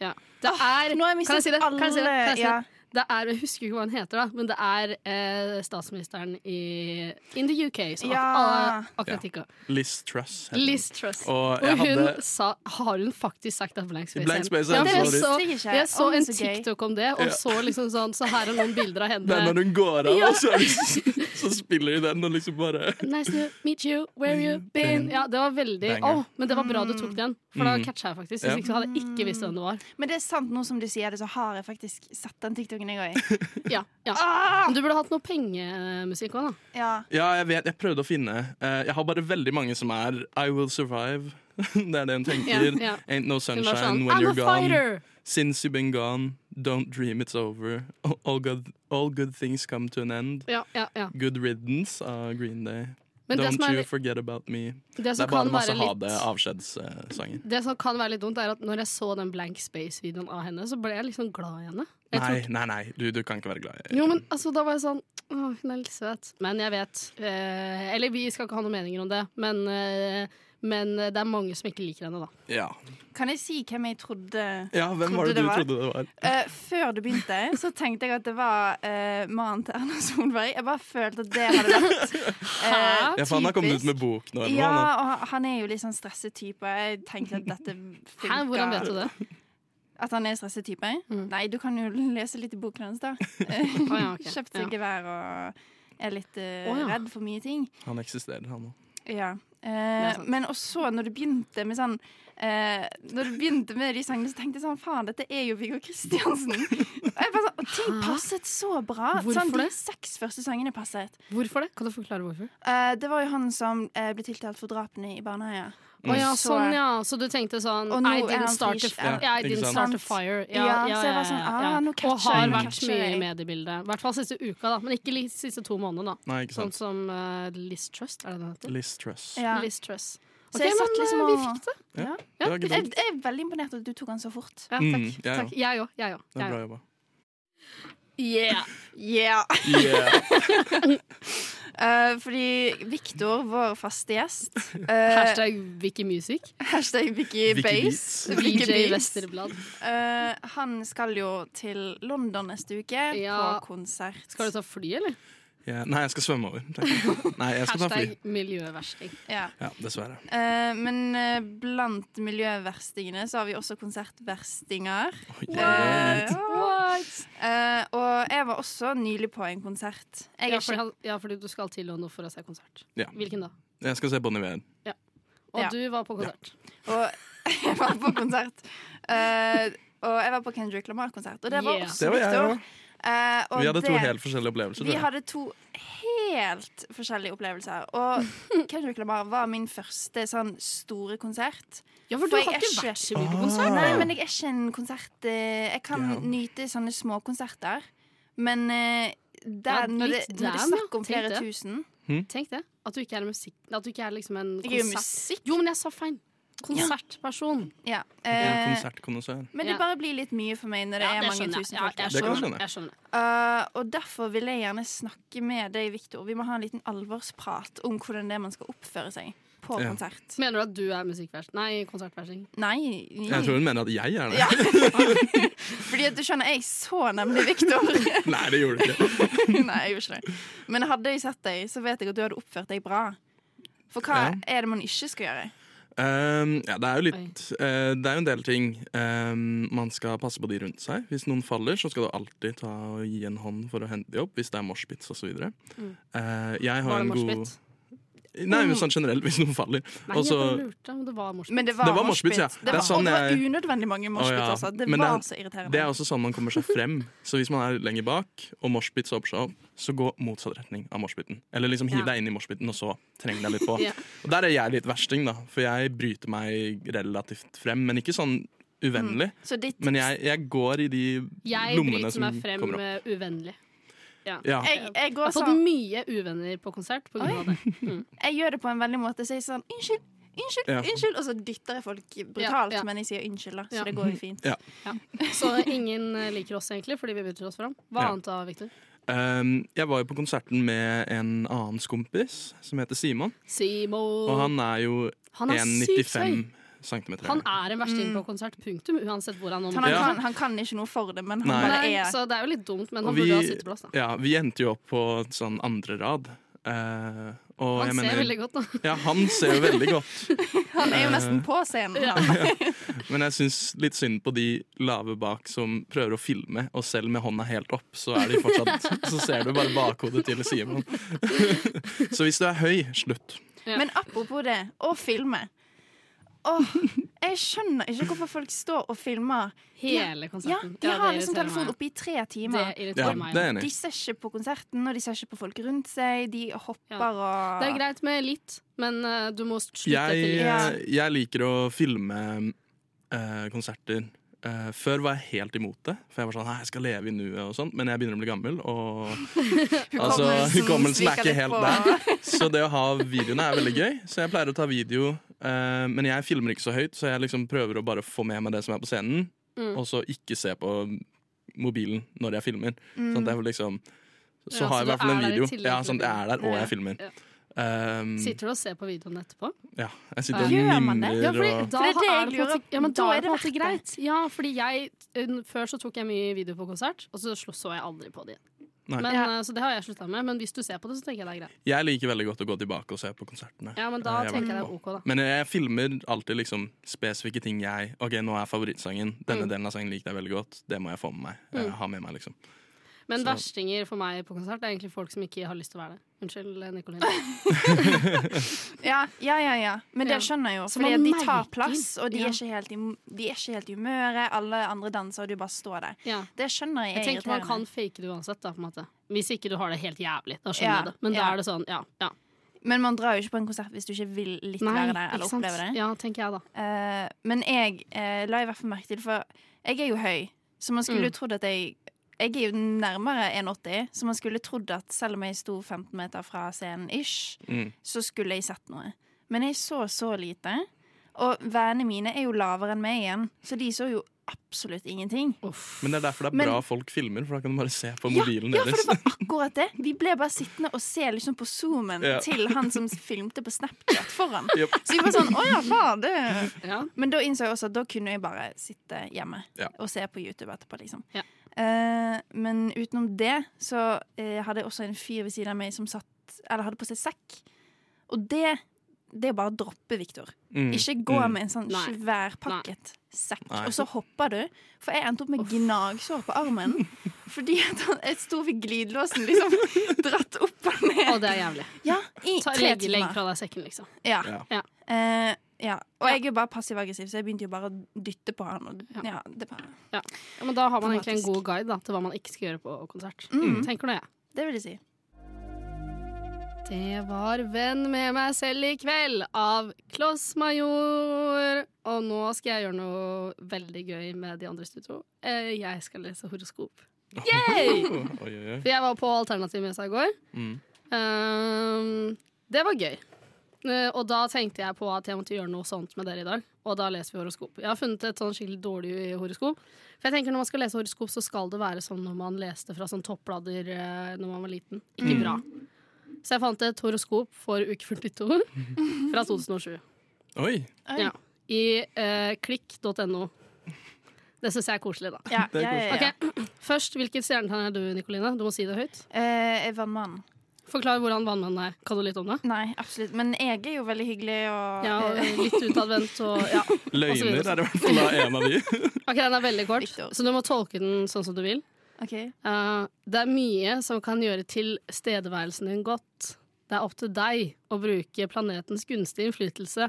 Speaker 3: Ja. Det er
Speaker 4: Nå har jeg mistet
Speaker 3: Kan jeg si det? Kan jeg si det? Kan jeg si det?
Speaker 4: alle-
Speaker 3: Det er, Jeg husker ikke hva han heter, da men det er eh, statsministeren i In the UK. Så ak
Speaker 4: Ja.
Speaker 3: ak- akkurat ikke.
Speaker 5: Liz Truss. heter
Speaker 3: Liz Truss. Og,
Speaker 5: Og jeg
Speaker 3: hun
Speaker 5: hadde
Speaker 3: sa Har hun faktisk sagt at Blank Space?
Speaker 5: Blank
Speaker 3: er en-
Speaker 5: Space er en
Speaker 3: for jeg,
Speaker 5: favoritt.
Speaker 3: så,
Speaker 4: Det visste jeg ikke.
Speaker 3: jeg så
Speaker 4: Å,
Speaker 3: en
Speaker 4: så gøy.
Speaker 3: TikTok om det, og
Speaker 5: Ja.
Speaker 3: så liksom sånn Så her er noen bilder av
Speaker 5: Det er når
Speaker 3: henne.
Speaker 5: hun går av, og så, er det- så spiller de den, og liksom bare
Speaker 3: Nice to meet you, where you been? Ja, det var veldig Å,
Speaker 5: Banger.
Speaker 3: men det var bra du tok den, for da
Speaker 5: Mm.
Speaker 3: catcha jeg faktisk.
Speaker 5: Ja.
Speaker 3: Hvis ikke så hadde jeg ikke visst hvem det var.
Speaker 4: Men det er sant, nå som du sier det, så har jeg faktisk sett den TikToken jeg òg.
Speaker 3: Ja, ja. Men du burde hatt noe pengemusikk òg, da.
Speaker 4: Ja.
Speaker 5: Ja, jeg vet, jeg prøvde å finne eh, Jeg har bare veldig mange som er I will survive Det er det hun tenker
Speaker 3: Ja, ja.
Speaker 5: Ain't no
Speaker 3: Hun var
Speaker 5: sunshine
Speaker 3: sånn
Speaker 5: when
Speaker 3: I'm a
Speaker 5: you're gone
Speaker 3: fighter!
Speaker 5: Since you've been gone Don't dream it's over All- All good, all good things come to an end
Speaker 3: Ja, ja, ja.
Speaker 5: Good riddance av Green Day
Speaker 3: Men det
Speaker 5: Don't
Speaker 3: som er-
Speaker 5: you forget about me
Speaker 3: Det
Speaker 5: Det
Speaker 3: som
Speaker 5: er bare
Speaker 3: kan
Speaker 5: masse
Speaker 3: være
Speaker 5: ha det
Speaker 3: litt
Speaker 5: avskjedssanger
Speaker 3: Det som kan være litt dumt, er at når jeg så den Blank Space-videoen av henne, så ble jeg liksom glad i henne. Jeg
Speaker 5: Nei,
Speaker 3: tror-
Speaker 5: nei, nei, du, du kan ikke være glad i
Speaker 3: Jo, men altså, da var jeg sånn Å, hun er litt søt. Men jeg vet eh, Eller vi skal ikke ha noen meninger om det, men, eh, men det er mange som ikke liker henne, da.
Speaker 5: Ja,
Speaker 4: Kan jeg si hvem jeg trodde
Speaker 5: ja hvem var det
Speaker 4: Trodde
Speaker 5: du
Speaker 4: det var?
Speaker 5: trodde det var?
Speaker 4: Eh, Før du begynte, så tenkte jeg at det var eh, mannen til Erna Solberg. Jeg bare følte at det hadde vært eh,
Speaker 5: Ja, for han har kommet ut
Speaker 4: typisk.
Speaker 5: med bok nå eller
Speaker 4: Ja,
Speaker 5: noe, han
Speaker 4: og han- han er jo litt sånn stresset type. Jeg tenkte at dette
Speaker 3: Hæ, hvordan vet du
Speaker 4: funka.
Speaker 3: det?
Speaker 4: At han er stresset type? Nei, du kan jo lese litt i boken hans, da.
Speaker 3: Å, ja, Ah, ok.
Speaker 4: Kjøpt seg
Speaker 3: ja.
Speaker 4: gevær og er litt eh,
Speaker 3: Å, ja.
Speaker 4: redd for mye ting.
Speaker 5: har- Han eksisterer han også
Speaker 4: Ja.
Speaker 3: er
Speaker 4: Eh,
Speaker 3: sant.
Speaker 4: men også når du begynte med sånn eh, Når du begynte med de sangene, så tenkte jeg sånn Faen, dette er jo Viggo Kristiansen! Og jeg bare sånn, og ting passet så bra.
Speaker 3: Hvorfor
Speaker 4: sånn, de
Speaker 3: det?
Speaker 4: seks første sangene passet.
Speaker 3: Hvorfor det? Kan du forklare hvorfor?
Speaker 4: Eh, det var jo han som eh, ble tiltalt for drapene i barneheia.
Speaker 3: Å ja,
Speaker 4: Så-
Speaker 3: sånn ja. Så du tenkte sånn
Speaker 4: Mm. Og nå
Speaker 3: I
Speaker 4: er han
Speaker 3: didn't start a
Speaker 4: frisk.
Speaker 3: fire.
Speaker 5: Ja,
Speaker 3: I
Speaker 5: ikke
Speaker 3: didn't
Speaker 5: sant.
Speaker 3: start a fire. Ja,
Speaker 4: Ja,
Speaker 3: ja, ja,
Speaker 4: så jeg var sånn,
Speaker 3: ja,
Speaker 4: ah,
Speaker 3: ja.
Speaker 4: nå
Speaker 3: Og
Speaker 4: catcher
Speaker 3: har
Speaker 4: jeg, nå
Speaker 3: vært
Speaker 4: catcher
Speaker 3: mye i
Speaker 4: jeg.
Speaker 3: mediebildet. I hvert fall siste uka, da. Men ikke de siste to månedene. da
Speaker 5: Nei, ikke
Speaker 3: Sånn
Speaker 5: sant?
Speaker 3: som eh, Liz Trust, er det det heter?
Speaker 5: Liz Truss
Speaker 4: Ja.
Speaker 3: Liz Truss.
Speaker 4: Så
Speaker 3: Ok,
Speaker 4: jeg satt
Speaker 3: men,
Speaker 4: liksom
Speaker 3: eh,
Speaker 4: og-
Speaker 3: vi fikk det.
Speaker 5: Det var ikke
Speaker 4: Jeg,
Speaker 5: dumt
Speaker 4: jeg er veldig imponert at du tok han så fort.
Speaker 3: Ja, takk.
Speaker 5: Mm, jeg òg.
Speaker 3: takk. Jeg òg. Jeg òg.
Speaker 5: Det er
Speaker 3: jeg
Speaker 5: bra
Speaker 3: òg.
Speaker 5: jobba
Speaker 3: Yeah.
Speaker 4: Yeah.
Speaker 5: Yeah
Speaker 4: Eh, fordi Viktor, vår faste gjest eh,
Speaker 3: Hashtag Wikimusic.
Speaker 4: Hashtag Vicky
Speaker 5: Vicky
Speaker 4: Base.
Speaker 5: Beats.
Speaker 4: Vicky
Speaker 3: VJ
Speaker 4: Beats.
Speaker 3: Westerblad.
Speaker 4: Eh, han skal jo til London neste uke
Speaker 3: Ja.
Speaker 4: på konsert.
Speaker 3: Skal du ta fly, eller?
Speaker 5: Ja, nei, jeg skal svømme over. tenker jeg. Nei, jeg skal ta fly.
Speaker 3: Hashtag miljøversting.
Speaker 4: Ja.
Speaker 5: Ja, dessverre.
Speaker 4: Eh, men eh, blant miljøverstingene så har vi også konsertverstinger.
Speaker 5: Oi,
Speaker 4: Eh,
Speaker 3: What?
Speaker 4: eh, og jeg var også nylig på en konsert. Jeg er
Speaker 3: Ja fordi,
Speaker 4: ikke
Speaker 3: han, ja, fordi du skal til London for å se konsert.
Speaker 5: Ja.
Speaker 3: Hvilken da?
Speaker 5: Jeg skal se Bon Iver.
Speaker 3: Og
Speaker 4: Ja.
Speaker 3: du var på konsert.
Speaker 4: Og jeg var på konsert. Eh, og jeg var på Kendrick Lamar-konsert, og det var
Speaker 3: Yeah.
Speaker 4: også Eh,
Speaker 5: Det var jeg
Speaker 4: Victor.
Speaker 5: òg. Vi hadde to helt forskjellige opplevelser.
Speaker 4: Vi
Speaker 5: tror jeg.
Speaker 4: hadde to helt forskjellige opplevelser. Og Kendrick Lamar var min første sånn store konsert.
Speaker 3: Ja, for, du
Speaker 4: For jeg
Speaker 3: har ikke
Speaker 4: er ikke-
Speaker 3: vært så mye på
Speaker 5: Ah.
Speaker 3: konsert.
Speaker 4: Nei, men jeg er ikke en konsert eh, Jeg kan
Speaker 5: Ja.
Speaker 4: nyte sånne små konserter, men eh,
Speaker 3: Ja,
Speaker 4: der, når, det,
Speaker 3: litt
Speaker 4: når det er
Speaker 3: damn, ja.
Speaker 4: snakk om
Speaker 3: Tenk
Speaker 4: flere
Speaker 3: det.
Speaker 4: tusen
Speaker 3: Tenk det. At du ikke er, musikk, at du ikke er liksom en
Speaker 4: Jeg er jo
Speaker 3: konsert...
Speaker 4: musikk.
Speaker 3: Jo, men jeg sa feil. Konsertperson.
Speaker 4: ja.
Speaker 5: En
Speaker 4: eh,
Speaker 5: konsertkondisør.
Speaker 4: Men det
Speaker 3: Ja.
Speaker 4: bare blir litt mye for meg når det er mange
Speaker 3: skjønner jeg.
Speaker 4: tusen
Speaker 3: Ja,
Speaker 4: folk der.
Speaker 5: Det kan jeg skjønne.
Speaker 3: jeg skjønner.
Speaker 4: Eh, og derfor vil jeg gjerne snakke med deg, Viktor. Vi må ha en liten alvorsprat om hvordan det er man skal oppføre seg på
Speaker 5: Ja.
Speaker 4: konsert.
Speaker 3: Mener du at du er musikkversting? Nei, konsertversting.
Speaker 4: Nei,
Speaker 5: Jeg tror hun mener at jeg er det.
Speaker 4: Ja. Fordi at du skjønner, jeg så nemlig Viktor.
Speaker 5: Nei, det gjorde du ikke.
Speaker 4: Nei, jeg gjorde ikke det. Men hadde jeg sett deg, så vet jeg at du hadde oppført deg bra. For hva
Speaker 5: Ja.
Speaker 4: er det man ikke skal gjøre?
Speaker 5: Ehm, ja, det er jo litt eh, Det er jo en del ting. Ehm, man skal passe på de rundt seg. Hvis noen faller, så skal du alltid ta og gi en hånd for å hente de opp. Hvis det er moshpits osv.
Speaker 3: Mm.
Speaker 5: Uh, jeg har
Speaker 3: Var det
Speaker 5: en god Altså-
Speaker 3: moshpit?
Speaker 5: Nei, men sånn generelt, hvis noen faller.
Speaker 3: Nei,
Speaker 5: Også,
Speaker 3: jeg bare lurte om det var moshpit.
Speaker 4: Men det
Speaker 5: Det
Speaker 4: var,
Speaker 5: var moshpits, ja.
Speaker 4: Det
Speaker 5: Det er
Speaker 4: var,
Speaker 5: sånn
Speaker 4: og det var
Speaker 5: jeg-
Speaker 4: unødvendig mange
Speaker 5: Å,
Speaker 4: moshpits.
Speaker 5: ja.
Speaker 4: altså. Det
Speaker 5: Men
Speaker 4: var
Speaker 5: det
Speaker 4: så irriterende.
Speaker 5: det er også sånn man kommer seg frem. Så hvis man er lenger bak, og moshpits åpner seg opp, så gå motsatt retning av moshpiten. Eller liksom hiv
Speaker 3: Ja.
Speaker 5: deg inn i moshpiten, og så treng deg litt på.
Speaker 3: Ja.
Speaker 5: Og der er jeg litt versting, da. For jeg bryter meg relativt frem, men ikke sånn uvennlig.
Speaker 4: Så ditt
Speaker 5: Men jeg, jeg går i de
Speaker 3: Mm. jeg
Speaker 5: lommene
Speaker 3: bryter
Speaker 5: som
Speaker 3: meg frem
Speaker 5: kommer opp.
Speaker 3: eh, uvennlig. Ja.
Speaker 5: Ja.
Speaker 4: jeg, jeg
Speaker 3: Jeg
Speaker 4: går
Speaker 3: har fått
Speaker 4: sånn
Speaker 3: mye uvenner på konsert pga. det.
Speaker 4: Jeg gjør det på en veldig måte. Så jeg sier sånn unnskyld, unnskyld,
Speaker 5: Ja.
Speaker 4: unnskyld. Og så dytter jeg folk brutalt,
Speaker 3: Ja, ja.
Speaker 4: men jeg sier unnskyld, da. Så
Speaker 3: Ja.
Speaker 4: det går jo fint.
Speaker 5: Ja.
Speaker 3: Så ingen eh, liker oss egentlig fordi vi bryter oss fram. Hva
Speaker 5: Ja.
Speaker 3: annet da, Victor?
Speaker 5: Um, jeg var jo på konserten med en annen kompis som heter Simon.
Speaker 3: Simon.
Speaker 5: Og han er Mm. jo
Speaker 3: Han er sykt høy.
Speaker 5: 1,95 cm.
Speaker 3: Han er en versting på konsert, punktum, uansett hvor han
Speaker 4: Mm. Han, han,
Speaker 3: omgår
Speaker 5: Ja.
Speaker 4: kan, han kan ikke noe for det, men han
Speaker 5: Nei.
Speaker 4: bare
Speaker 3: Nei,
Speaker 4: er
Speaker 3: så det er jo litt dumt, men han
Speaker 5: Og vi,
Speaker 3: burde ha sitteplass. Da.
Speaker 5: ja, vi endte jo opp på sånn andre rad. Eh, og
Speaker 3: Han
Speaker 5: jeg
Speaker 3: ser
Speaker 5: mener,
Speaker 3: veldig godt nå.
Speaker 5: Ja, han ser jo veldig godt.
Speaker 4: Han er jo
Speaker 5: Eh.
Speaker 4: nesten på scenen.
Speaker 3: Ja.
Speaker 5: Men jeg syns litt synd på de lave bak som prøver å filme, og selv med hånda helt opp, så er de fortsatt Så ser du bare bakhodet til Simon. Så hvis du er høy, slutt.
Speaker 3: Ja.
Speaker 4: Men apropos det, å filme. Åh, jeg skjønner ikke hvorfor folk står og filmer.
Speaker 3: Hele
Speaker 4: Ja,
Speaker 3: konserten.
Speaker 4: de har liksom
Speaker 3: irriterer
Speaker 4: telefonen
Speaker 3: meg.
Speaker 4: oppe i tre
Speaker 3: Det
Speaker 4: timer.
Speaker 5: Ja,
Speaker 3: irriterer meg.
Speaker 5: det er
Speaker 4: De
Speaker 5: enig.
Speaker 4: ser ikke på konserten, og de ser ikke på folk rundt seg. De
Speaker 3: Ja.
Speaker 4: hopper og
Speaker 3: Det er greit med litt, men eh, du må slutte
Speaker 5: Jeg, eh,
Speaker 3: etter litt.
Speaker 4: Ja.
Speaker 5: jeg liker å filme eh, konserter. Eh, før var jeg helt imot det, for jeg var sånn, nei, jeg skal leve i nuet og sånn. Men jeg begynner å bli gammel, og altså, hukommelsen er
Speaker 4: sviker
Speaker 5: ikke
Speaker 4: litt
Speaker 5: helt
Speaker 4: på-
Speaker 5: der. Så det å ha videoene er veldig gøy. Så jeg pleier å ta video, eh, men jeg filmer ikke så høyt, så jeg liksom prøver å bare få med meg det som er på scenen,
Speaker 3: Mm.
Speaker 5: og så ikke se på mobilen når jeg filmer. Sånn at jeg får liksom
Speaker 3: Mm.
Speaker 5: Så
Speaker 3: Ja, så
Speaker 5: har jeg i
Speaker 3: du
Speaker 5: hvert fall
Speaker 3: er
Speaker 5: en
Speaker 3: der i
Speaker 5: video.
Speaker 3: tillegg
Speaker 5: Ja,
Speaker 3: til
Speaker 5: sånn at jeg er der, og jeg filmer.
Speaker 3: Ja.
Speaker 5: Um,
Speaker 3: Sitter du og ser på videoen etterpå?
Speaker 5: ja, jeg sitter og
Speaker 4: Gjør man det?
Speaker 5: mimrer
Speaker 3: Ja, fordi
Speaker 5: og
Speaker 3: da
Speaker 4: For det er det
Speaker 3: er
Speaker 4: jeg
Speaker 3: det på en
Speaker 4: lurer
Speaker 3: måte,
Speaker 4: på.
Speaker 3: ja, men da
Speaker 4: Da
Speaker 3: er
Speaker 4: er
Speaker 3: det på en måte
Speaker 4: det verdt
Speaker 3: greit. Ja, fordi jeg, un- Før så tok jeg mye video på konsert, og så slo- så jeg aldri på det igjen.
Speaker 5: Nei.
Speaker 3: Men,
Speaker 4: Ja.
Speaker 3: eh, så det har jeg slutta med, men hvis du ser på det, så tenker jeg det er greit.
Speaker 5: Jeg liker veldig godt å gå tilbake og se på konsertene. Eh,
Speaker 3: Ja, men da
Speaker 5: Jeg
Speaker 3: tenker jeg det
Speaker 5: var
Speaker 3: er
Speaker 5: på.
Speaker 3: OK, da.
Speaker 5: Men jeg filmer alltid liksom spesifikke ting jeg Ok, nå er favorittsangen. Denne
Speaker 3: Mm.
Speaker 5: delen av sangen liker jeg veldig godt. Det må jeg få med meg. eh, ha med meg, liksom.
Speaker 3: Men
Speaker 5: Så-
Speaker 3: verstinger for meg på konsert er egentlig folk som ikke har lyst til å være der. Unnskyld, eh, Nicoline.
Speaker 4: Ja, ja, ja, ja. Men det
Speaker 3: Ja.
Speaker 4: skjønner jeg jo.
Speaker 3: Så
Speaker 4: Fordi
Speaker 3: man
Speaker 4: at de tar
Speaker 3: merker.
Speaker 4: plass, og de
Speaker 3: Ja.
Speaker 4: er ikke helt i, de er ikke helt i humøret. Alle andre danser, og du bare står der.
Speaker 3: Ja.
Speaker 4: Det skjønner jeg.
Speaker 3: Jeg
Speaker 4: er
Speaker 3: tenker man kan
Speaker 4: irriterende.
Speaker 3: fake det uansett, da, på en måte. Hvis ikke du har det helt jævlig. Da skjønner
Speaker 4: Ja,
Speaker 3: jeg det. Men da
Speaker 4: ja.
Speaker 3: er det sånn, ja. ja.
Speaker 4: Men man drar jo ikke på en konsert hvis du ikke vil litt være der eller oppleve det.
Speaker 3: Ja, tenker jeg, da.
Speaker 4: Eh, men jeg eh, la i hvert fall merke til, for jeg er jo høy, så man skulle
Speaker 3: Mm.
Speaker 4: jo trodd at jeg jeg er jo nærmere 1,80, så man skulle trodd at selv om jeg sto 15 meter fra scenen, ish,
Speaker 5: Mm.
Speaker 4: så skulle jeg sett noe. Men jeg så så lite. Og vennene mine er jo lavere enn meg igjen, så de så jo absolutt ingenting.
Speaker 5: Men det er derfor det er
Speaker 4: Men-
Speaker 5: bra folk filmer, for da kan du bare se på
Speaker 4: Ja,
Speaker 5: mobilen
Speaker 4: ja, for
Speaker 5: deres.
Speaker 4: det var akkurat det. Vi ble bare sittende og se liksom på zoomen
Speaker 5: Ja.
Speaker 4: til han som filmte på Snapchat foran.
Speaker 5: Jep.
Speaker 4: Så vi var sånn Å ja, faen, det
Speaker 3: Ja.
Speaker 4: Men da innså jeg også at da kunne jeg bare sitte hjemme
Speaker 5: Ja.
Speaker 4: og se på YouTube etterpå. liksom.
Speaker 3: Ja.
Speaker 4: Eh, men utenom det så eh, hadde jeg også en fyr ved siden av meg som satt, eller hadde på seg sekk. Og det, det er bare å droppe, Viktor.
Speaker 5: Mm.
Speaker 4: Ikke gå
Speaker 5: Mm.
Speaker 4: med en sånn
Speaker 3: Nei.
Speaker 4: sværpakket sekk,
Speaker 5: Nei.
Speaker 4: og så hopper du. For jeg endte opp med gnagsår på armen fordi at han- jeg sto ved glidelåsen, liksom dratt opp og
Speaker 3: Og
Speaker 4: ned.
Speaker 3: det er jævlig.
Speaker 4: Ja, i
Speaker 3: Ta,
Speaker 4: tre
Speaker 3: legg, legg
Speaker 4: timer.
Speaker 3: fra deg sekken, liksom.
Speaker 4: Ja.
Speaker 3: Ja.
Speaker 4: Eh, ja. Og jeg er jo bare passiv-aggressiv, så jeg begynte jo bare å dytte på han. Og,
Speaker 3: Ja.
Speaker 4: ja, det, var-
Speaker 3: Ja, men da har man egentlig en
Speaker 4: Dramatisk.
Speaker 3: god guide da, til hva man ikke skal gjøre på konsert. Mm. Tenker nå jeg.
Speaker 4: det vil jeg si.
Speaker 3: Det var Venn med meg selv i kveld av Kloss Major. Og nå skal jeg gjøre noe veldig gøy med de andre i studio. Eh, Jeg skal lese horoskop. Yay!
Speaker 5: Oi, oi, oi.
Speaker 3: For jeg var på Alternativmessa i går.
Speaker 5: Mm.
Speaker 3: Ehm, det var gøy. Eh, og da tenkte jeg på at jeg måtte gjøre noe sånt med dere i dag. Og da leser vi horoskop. Jeg har funnet et sånn skikkelig dårlig horoskop. For jeg tenker Når man skal lese horoskop, så skal det være sånn når man leste fra sånn topplader eh, når man var liten. Ikke bra. Så jeg fant et horoskop for uke 42 fra 2007
Speaker 5: oi.
Speaker 4: Oi.
Speaker 3: Ja. i eh, klikk.no. Det syns jeg er koselig, da.
Speaker 4: Ja,
Speaker 5: Det er
Speaker 4: ja, ja, ja.
Speaker 3: Ok, Først, hvilket stjernetegn er du, Nikoline? Du må si det høyt.
Speaker 4: Eh, jeg var mann.
Speaker 3: Forklar hvordan vannmannen er. Kan du litt om det?
Speaker 4: Nei, absolutt. Men jeg er jo veldig hyggelig og
Speaker 3: Ja, og litt utadvendt og ja. Og så sånn. videre.
Speaker 5: Løgner er i hvert fall da en av de.
Speaker 3: Ok, den er veldig kort,
Speaker 4: Viktig ord.
Speaker 3: så du må tolke den sånn som du vil.
Speaker 4: Ok.
Speaker 3: Eh, det er mye som kan gjøre tilstedeværelsen din godt. Det er opp til deg å bruke planetens gunstige innflytelse.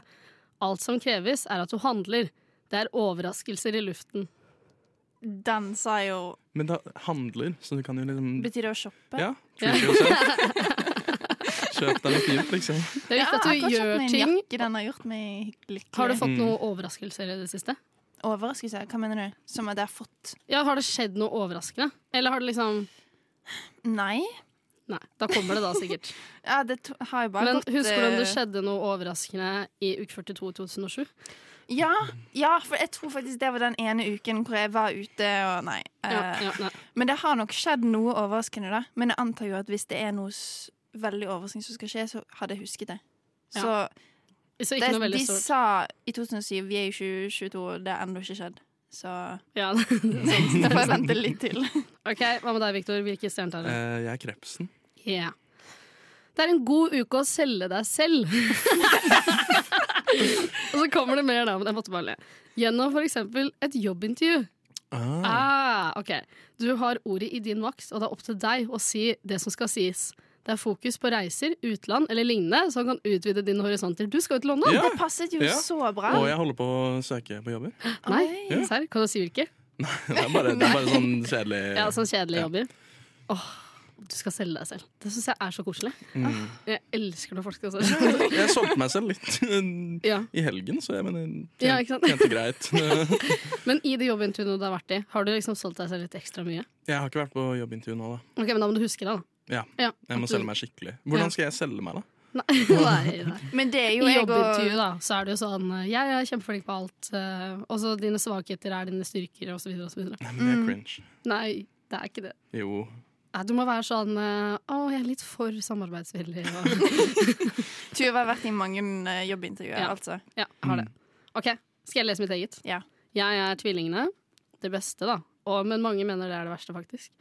Speaker 3: Alt som kreves, er at du handler. Det er overraskelser i luften.
Speaker 4: Den sa jo
Speaker 5: Men det handler, så du kan jo liksom
Speaker 4: Betyr det å shoppe?
Speaker 5: Ja, treat yourself. Kjøp deg litt fint, liksom.
Speaker 3: Det er viktig at du gjør ting.
Speaker 4: En jakke, den har gjort meg lykkelig.
Speaker 3: Har du fått
Speaker 5: Mm.
Speaker 3: noen overraskelser i det siste?
Speaker 4: Overraskelse? Hva mener du? Som at jeg har fått
Speaker 3: Ja, Har det skjedd noe overraskende? Eller har det liksom
Speaker 4: Nei?
Speaker 3: Nei, da kommer det da sikkert.
Speaker 4: Ja, det to har jo bare
Speaker 3: Men
Speaker 4: gått
Speaker 3: husker du om det
Speaker 4: eh,
Speaker 3: skjedde noe overraskende i uke 42 i 2007?
Speaker 4: Ja, ja, for jeg tror faktisk det var den ene uken hvor jeg var ute og Nei. eh,
Speaker 3: Ja, ja, nei.
Speaker 4: Men det har nok skjedd noe overraskende, da. Men jeg antar jo at hvis det er noe s veldig overraskende som skal skje, så hadde jeg husket det.
Speaker 3: Ja.
Speaker 4: Så
Speaker 3: Så
Speaker 4: det,
Speaker 3: ikke noe veldig
Speaker 4: de
Speaker 3: stort.
Speaker 4: sa i 2007 Vi er jo 2022, og det har ennå ikke skjedd. Så
Speaker 3: Ja.
Speaker 4: da får jeg vente litt til.
Speaker 3: Ok, Hva med deg, Victor? Hvilke stjerner tar du?
Speaker 5: Eh, jeg er krepsen.
Speaker 3: Ja. Det er en god uke å selge deg selv. Og så kommer det mer, da. Men jeg måtte bare le. Gjennom f.eks. et jobbintervju.
Speaker 5: Ah.
Speaker 3: Ah, ok. Du har ordet i din makt, og det er opp til deg å si det som skal sies. Det er fokus på reiser, utland eller lignende, som kan utvide dine horisonter. Du skal jo til London!
Speaker 5: Ja.
Speaker 4: Det passet jo
Speaker 5: Ja.
Speaker 4: så bra.
Speaker 5: Og jeg holder på å søke på jobber.
Speaker 3: Nei,
Speaker 5: Ja.
Speaker 3: serr? Kan du si hvilke?
Speaker 5: Det er bare, det er bare sånn kjedelig
Speaker 3: Ja, sånn kjedelige
Speaker 5: Ja.
Speaker 3: jobber. Åh, du skal selge deg selv. Det syns jeg er så koselig. Ah,
Speaker 5: Mm.
Speaker 3: Jeg elsker når folk skal selge seg.
Speaker 5: Jeg solgte meg selv litt
Speaker 3: Ja.
Speaker 5: i helgen, så jeg mener
Speaker 3: Ja,
Speaker 5: tjente,
Speaker 3: ikke sant?
Speaker 5: tjente greit.
Speaker 3: Men i det jobbintervjuet du har vært i, har du liksom solgt deg selv litt ekstra mye?
Speaker 5: Jeg har ikke vært på jobbintervju nå, da.
Speaker 3: Ok, men da må du huske det, da.
Speaker 5: Ja,
Speaker 3: Ja,
Speaker 5: Jeg må
Speaker 3: at du-
Speaker 5: selge meg skikkelig.
Speaker 3: Ja.
Speaker 5: Hvordan skal jeg selge meg, da?
Speaker 3: Nei, nei, nei.
Speaker 4: Men det er
Speaker 3: I
Speaker 4: jo jeg og
Speaker 3: jobbintervjuet da, så er det jo sånn eh, Jeg er kjempeflink på alt. eh, Også dine svakheter er dine styrker, osv.
Speaker 5: Nei, men
Speaker 3: Mm.
Speaker 5: det er cringe.
Speaker 3: Nei, det er ikke det.
Speaker 5: Jo.
Speaker 3: Nei, Du må være sånn eh, Å, jeg er litt for samarbeidsvillig. Og,
Speaker 4: Tuva har vært i mange eh, jobbintervjuer,
Speaker 3: Ja.
Speaker 4: altså.
Speaker 3: ja, har det. OK, skal jeg lese mitt eget?
Speaker 4: Ja.
Speaker 3: Jeg er tvillingene. Det beste, da. Og, men mange mener det er det verste, faktisk.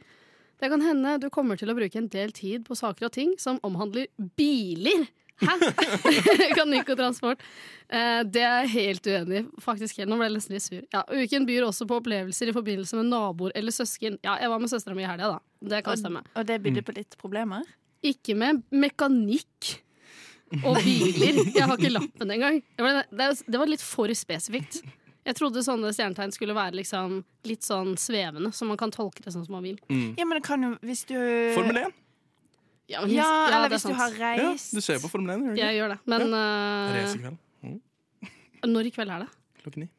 Speaker 3: Det kan hende du kommer til å bruke en del tid på saker og ting som omhandler biler. Hæ? Mekanikk og transport. Eh, det er jeg helt uenig i. Faktisk, helt. Nå ble jeg nesten litt sur. Ja, uken byr også på opplevelser i forbindelse med naboer eller søsken. Ja, jeg var med søstera mi i helga, da. Det kan stemme.
Speaker 4: Og, og det bydde på litt problemer.
Speaker 3: Mm. Ikke med mekanikk og biler. Jeg har ikke lappen engang. Det var, det, det var litt for spesifikt. Jeg trodde sånne stjernetegn skulle være liksom litt sånn svevende, så man kan tolke det sånn som man vil.
Speaker 5: Mm.
Speaker 4: Ja, men det kan jo Hvis du
Speaker 5: Formel
Speaker 3: Eh,
Speaker 5: 1.
Speaker 3: Ja, men-
Speaker 4: Ja,
Speaker 3: ja, det
Speaker 4: eller
Speaker 3: er
Speaker 4: hvis du
Speaker 3: sant.
Speaker 4: har
Speaker 5: Ja,
Speaker 4: reist.
Speaker 5: du ser på Formel 1, gjør du ikke?
Speaker 3: Jeg gjør det. Men eh,
Speaker 5: Race i kveld. Mm.
Speaker 3: når i kveld er det?
Speaker 5: Klokken ni.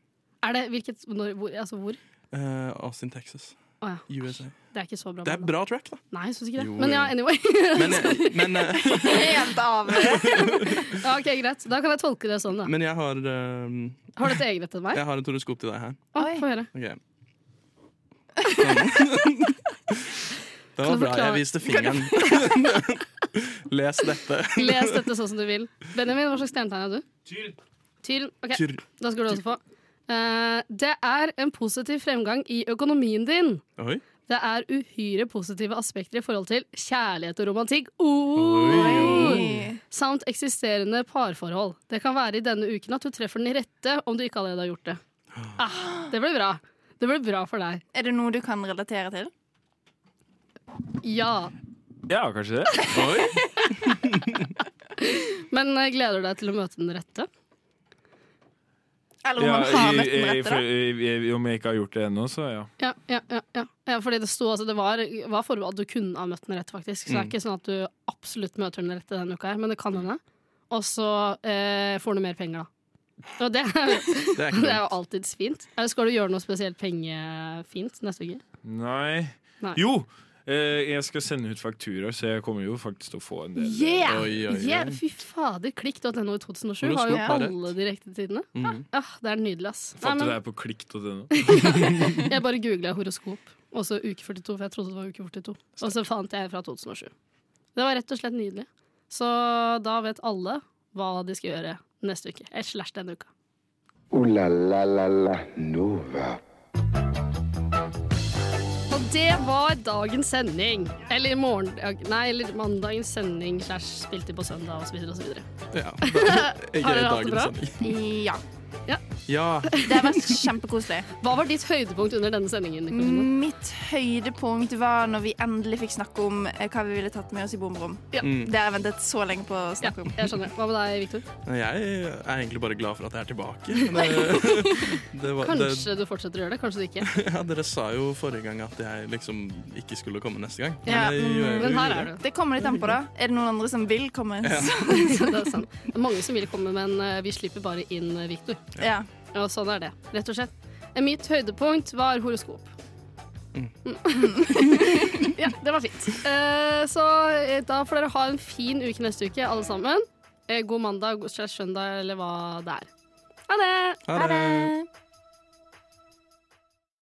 Speaker 3: Er det hvilket, når, hvor, altså hvor?
Speaker 5: Eh, Austin, Texas.
Speaker 3: Å ja.
Speaker 5: USA.
Speaker 3: Det er ikke så bra.
Speaker 5: Det er
Speaker 3: band, da.
Speaker 5: bra track, da.
Speaker 3: Nei, jeg syns ikke det.
Speaker 5: Jo,
Speaker 3: Men ja,
Speaker 5: jo.
Speaker 3: anyway.
Speaker 5: Men, jeg- men, eh,
Speaker 4: Helt av.
Speaker 3: ja, ok, Greit. Da kan jeg tolke det sånn, da.
Speaker 5: men jeg har eh,
Speaker 3: Har du et eget etter meg?
Speaker 5: Jeg har et horoskop til deg her.
Speaker 3: Å,
Speaker 4: Oi.
Speaker 3: Få høre.
Speaker 5: Ok. Det var
Speaker 3: du
Speaker 5: bra. Jeg
Speaker 3: forklare-
Speaker 5: viste fingeren. Les dette.
Speaker 3: Les dette sånn som du vil. Benjamin, hva slags stjernetegn er du?
Speaker 6: Tyr.
Speaker 3: Tyren. Ok.
Speaker 5: Tyr.
Speaker 3: Da skal du også få. Eh, det er en positiv fremgang i økonomien din.
Speaker 5: Oi.
Speaker 3: Det er uhyre positive aspekter i forhold til kjærlighet og romantikk.
Speaker 5: Oi.
Speaker 3: Oh! Samt eksisterende parforhold. Det kan være i denne uken at du treffer den rette om du ikke allerede har gjort det. Ah, det ble bra. Det ble bra for deg.
Speaker 4: Er det noe du kan relatere til?
Speaker 3: Ja.
Speaker 7: Ja, kanskje det.
Speaker 5: Oi.
Speaker 3: Men eh, gleder du deg til å møte den rette?
Speaker 4: Eller om
Speaker 7: Ja,
Speaker 4: man har
Speaker 7: i-
Speaker 4: møtt den
Speaker 7: i-
Speaker 4: rette,
Speaker 7: for-
Speaker 4: da?
Speaker 7: i- i- Om jeg ikke har gjort det ennå, så ja.
Speaker 3: Ja, ja, ja, ja. ja fordi det sto altså, Det var, var forbehold at du kunne ha møtt den rette, faktisk. Så det er
Speaker 5: Mm.
Speaker 3: ikke sånn at du absolutt møter den rette denne uka, her, men det kan hende. Og så eh, får du mer penger, da. Og det, er-
Speaker 5: Det er ikke
Speaker 3: det er jo
Speaker 5: dumt.
Speaker 3: alltids fint. Eller skal du gjøre noe spesielt pengefint neste uke?
Speaker 7: Nei.
Speaker 3: Nei.
Speaker 7: Jo! eh, Jeg skal sende ut fakturaer, så jeg kommer jo faktisk til å få en del. eh,
Speaker 3: Yeah!
Speaker 5: Oi, oi, oi.
Speaker 3: yeah! Fy fader, klikk.no i 2007
Speaker 5: Horoskop
Speaker 3: har jo
Speaker 5: er rett.
Speaker 3: alle direktetidene.
Speaker 5: Mm.
Speaker 3: Ja, Ah, det er nydelig, ass. Nei,
Speaker 7: Fatter du det
Speaker 3: men,
Speaker 7: er på klikk.no?
Speaker 3: jeg bare googla horoskop, og så uke 42, for jeg trodde det var uke 42. Og så fant jeg fra 2007. Det var rett og slett nydelig. Så da vet alle hva de skal gjøre neste uke. Eller slash denne uka.
Speaker 2: Ooh la la la la Nova.
Speaker 3: Og det var dagens sending. Eller morgendag Nei, eller mandagens sending slash spilte på søndag osv. osv.
Speaker 5: Ja, da,
Speaker 3: Har
Speaker 5: jeg er
Speaker 3: dere hatt det
Speaker 5: dagens
Speaker 3: bra?
Speaker 5: sending.
Speaker 4: Ja.
Speaker 5: Ja,
Speaker 4: Det har vært kjempekoselig.
Speaker 3: Hva var ditt høydepunkt under denne sendingen?
Speaker 5: Mm.
Speaker 3: Nicoline?
Speaker 4: Mitt høydepunkt var når vi endelig fikk snakke om eh, hva vi ville tatt med oss i bomrom.
Speaker 3: Ja.
Speaker 5: Mm.
Speaker 4: Det har jeg ventet så lenge på å
Speaker 3: Ja,
Speaker 4: snakke om.
Speaker 3: jeg skjønner. Hva med deg, Victor?
Speaker 5: jeg er egentlig bare glad for at jeg er tilbake. Det, det var, det,
Speaker 3: Kanskje du fortsetter å gjøre det, kanskje du ikke.
Speaker 5: ja, dere sa jo forrige gang at jeg liksom ikke skulle komme neste gang. Men
Speaker 4: Ja,
Speaker 5: jeg
Speaker 4: mm,
Speaker 5: gjør jo
Speaker 3: Men her
Speaker 5: det.
Speaker 3: er du.
Speaker 4: Det kommer litt an på, da. Er det noen andre som vil komme? Så,
Speaker 3: Så det er sant. Det er mange som vil komme, men eh, vi slipper bare inn eh, Victor.
Speaker 4: ja.
Speaker 3: Og sånn er det, rett og slett. Eh, Mitt høydepunkt var horoskop. Mm. ja, det var fint. Eh, så eh, da får dere ha en fin uke neste uke, alle sammen. Eh, god mandag, god slash søndag, eller hva det er. Ha det!
Speaker 5: Ha det.
Speaker 4: det.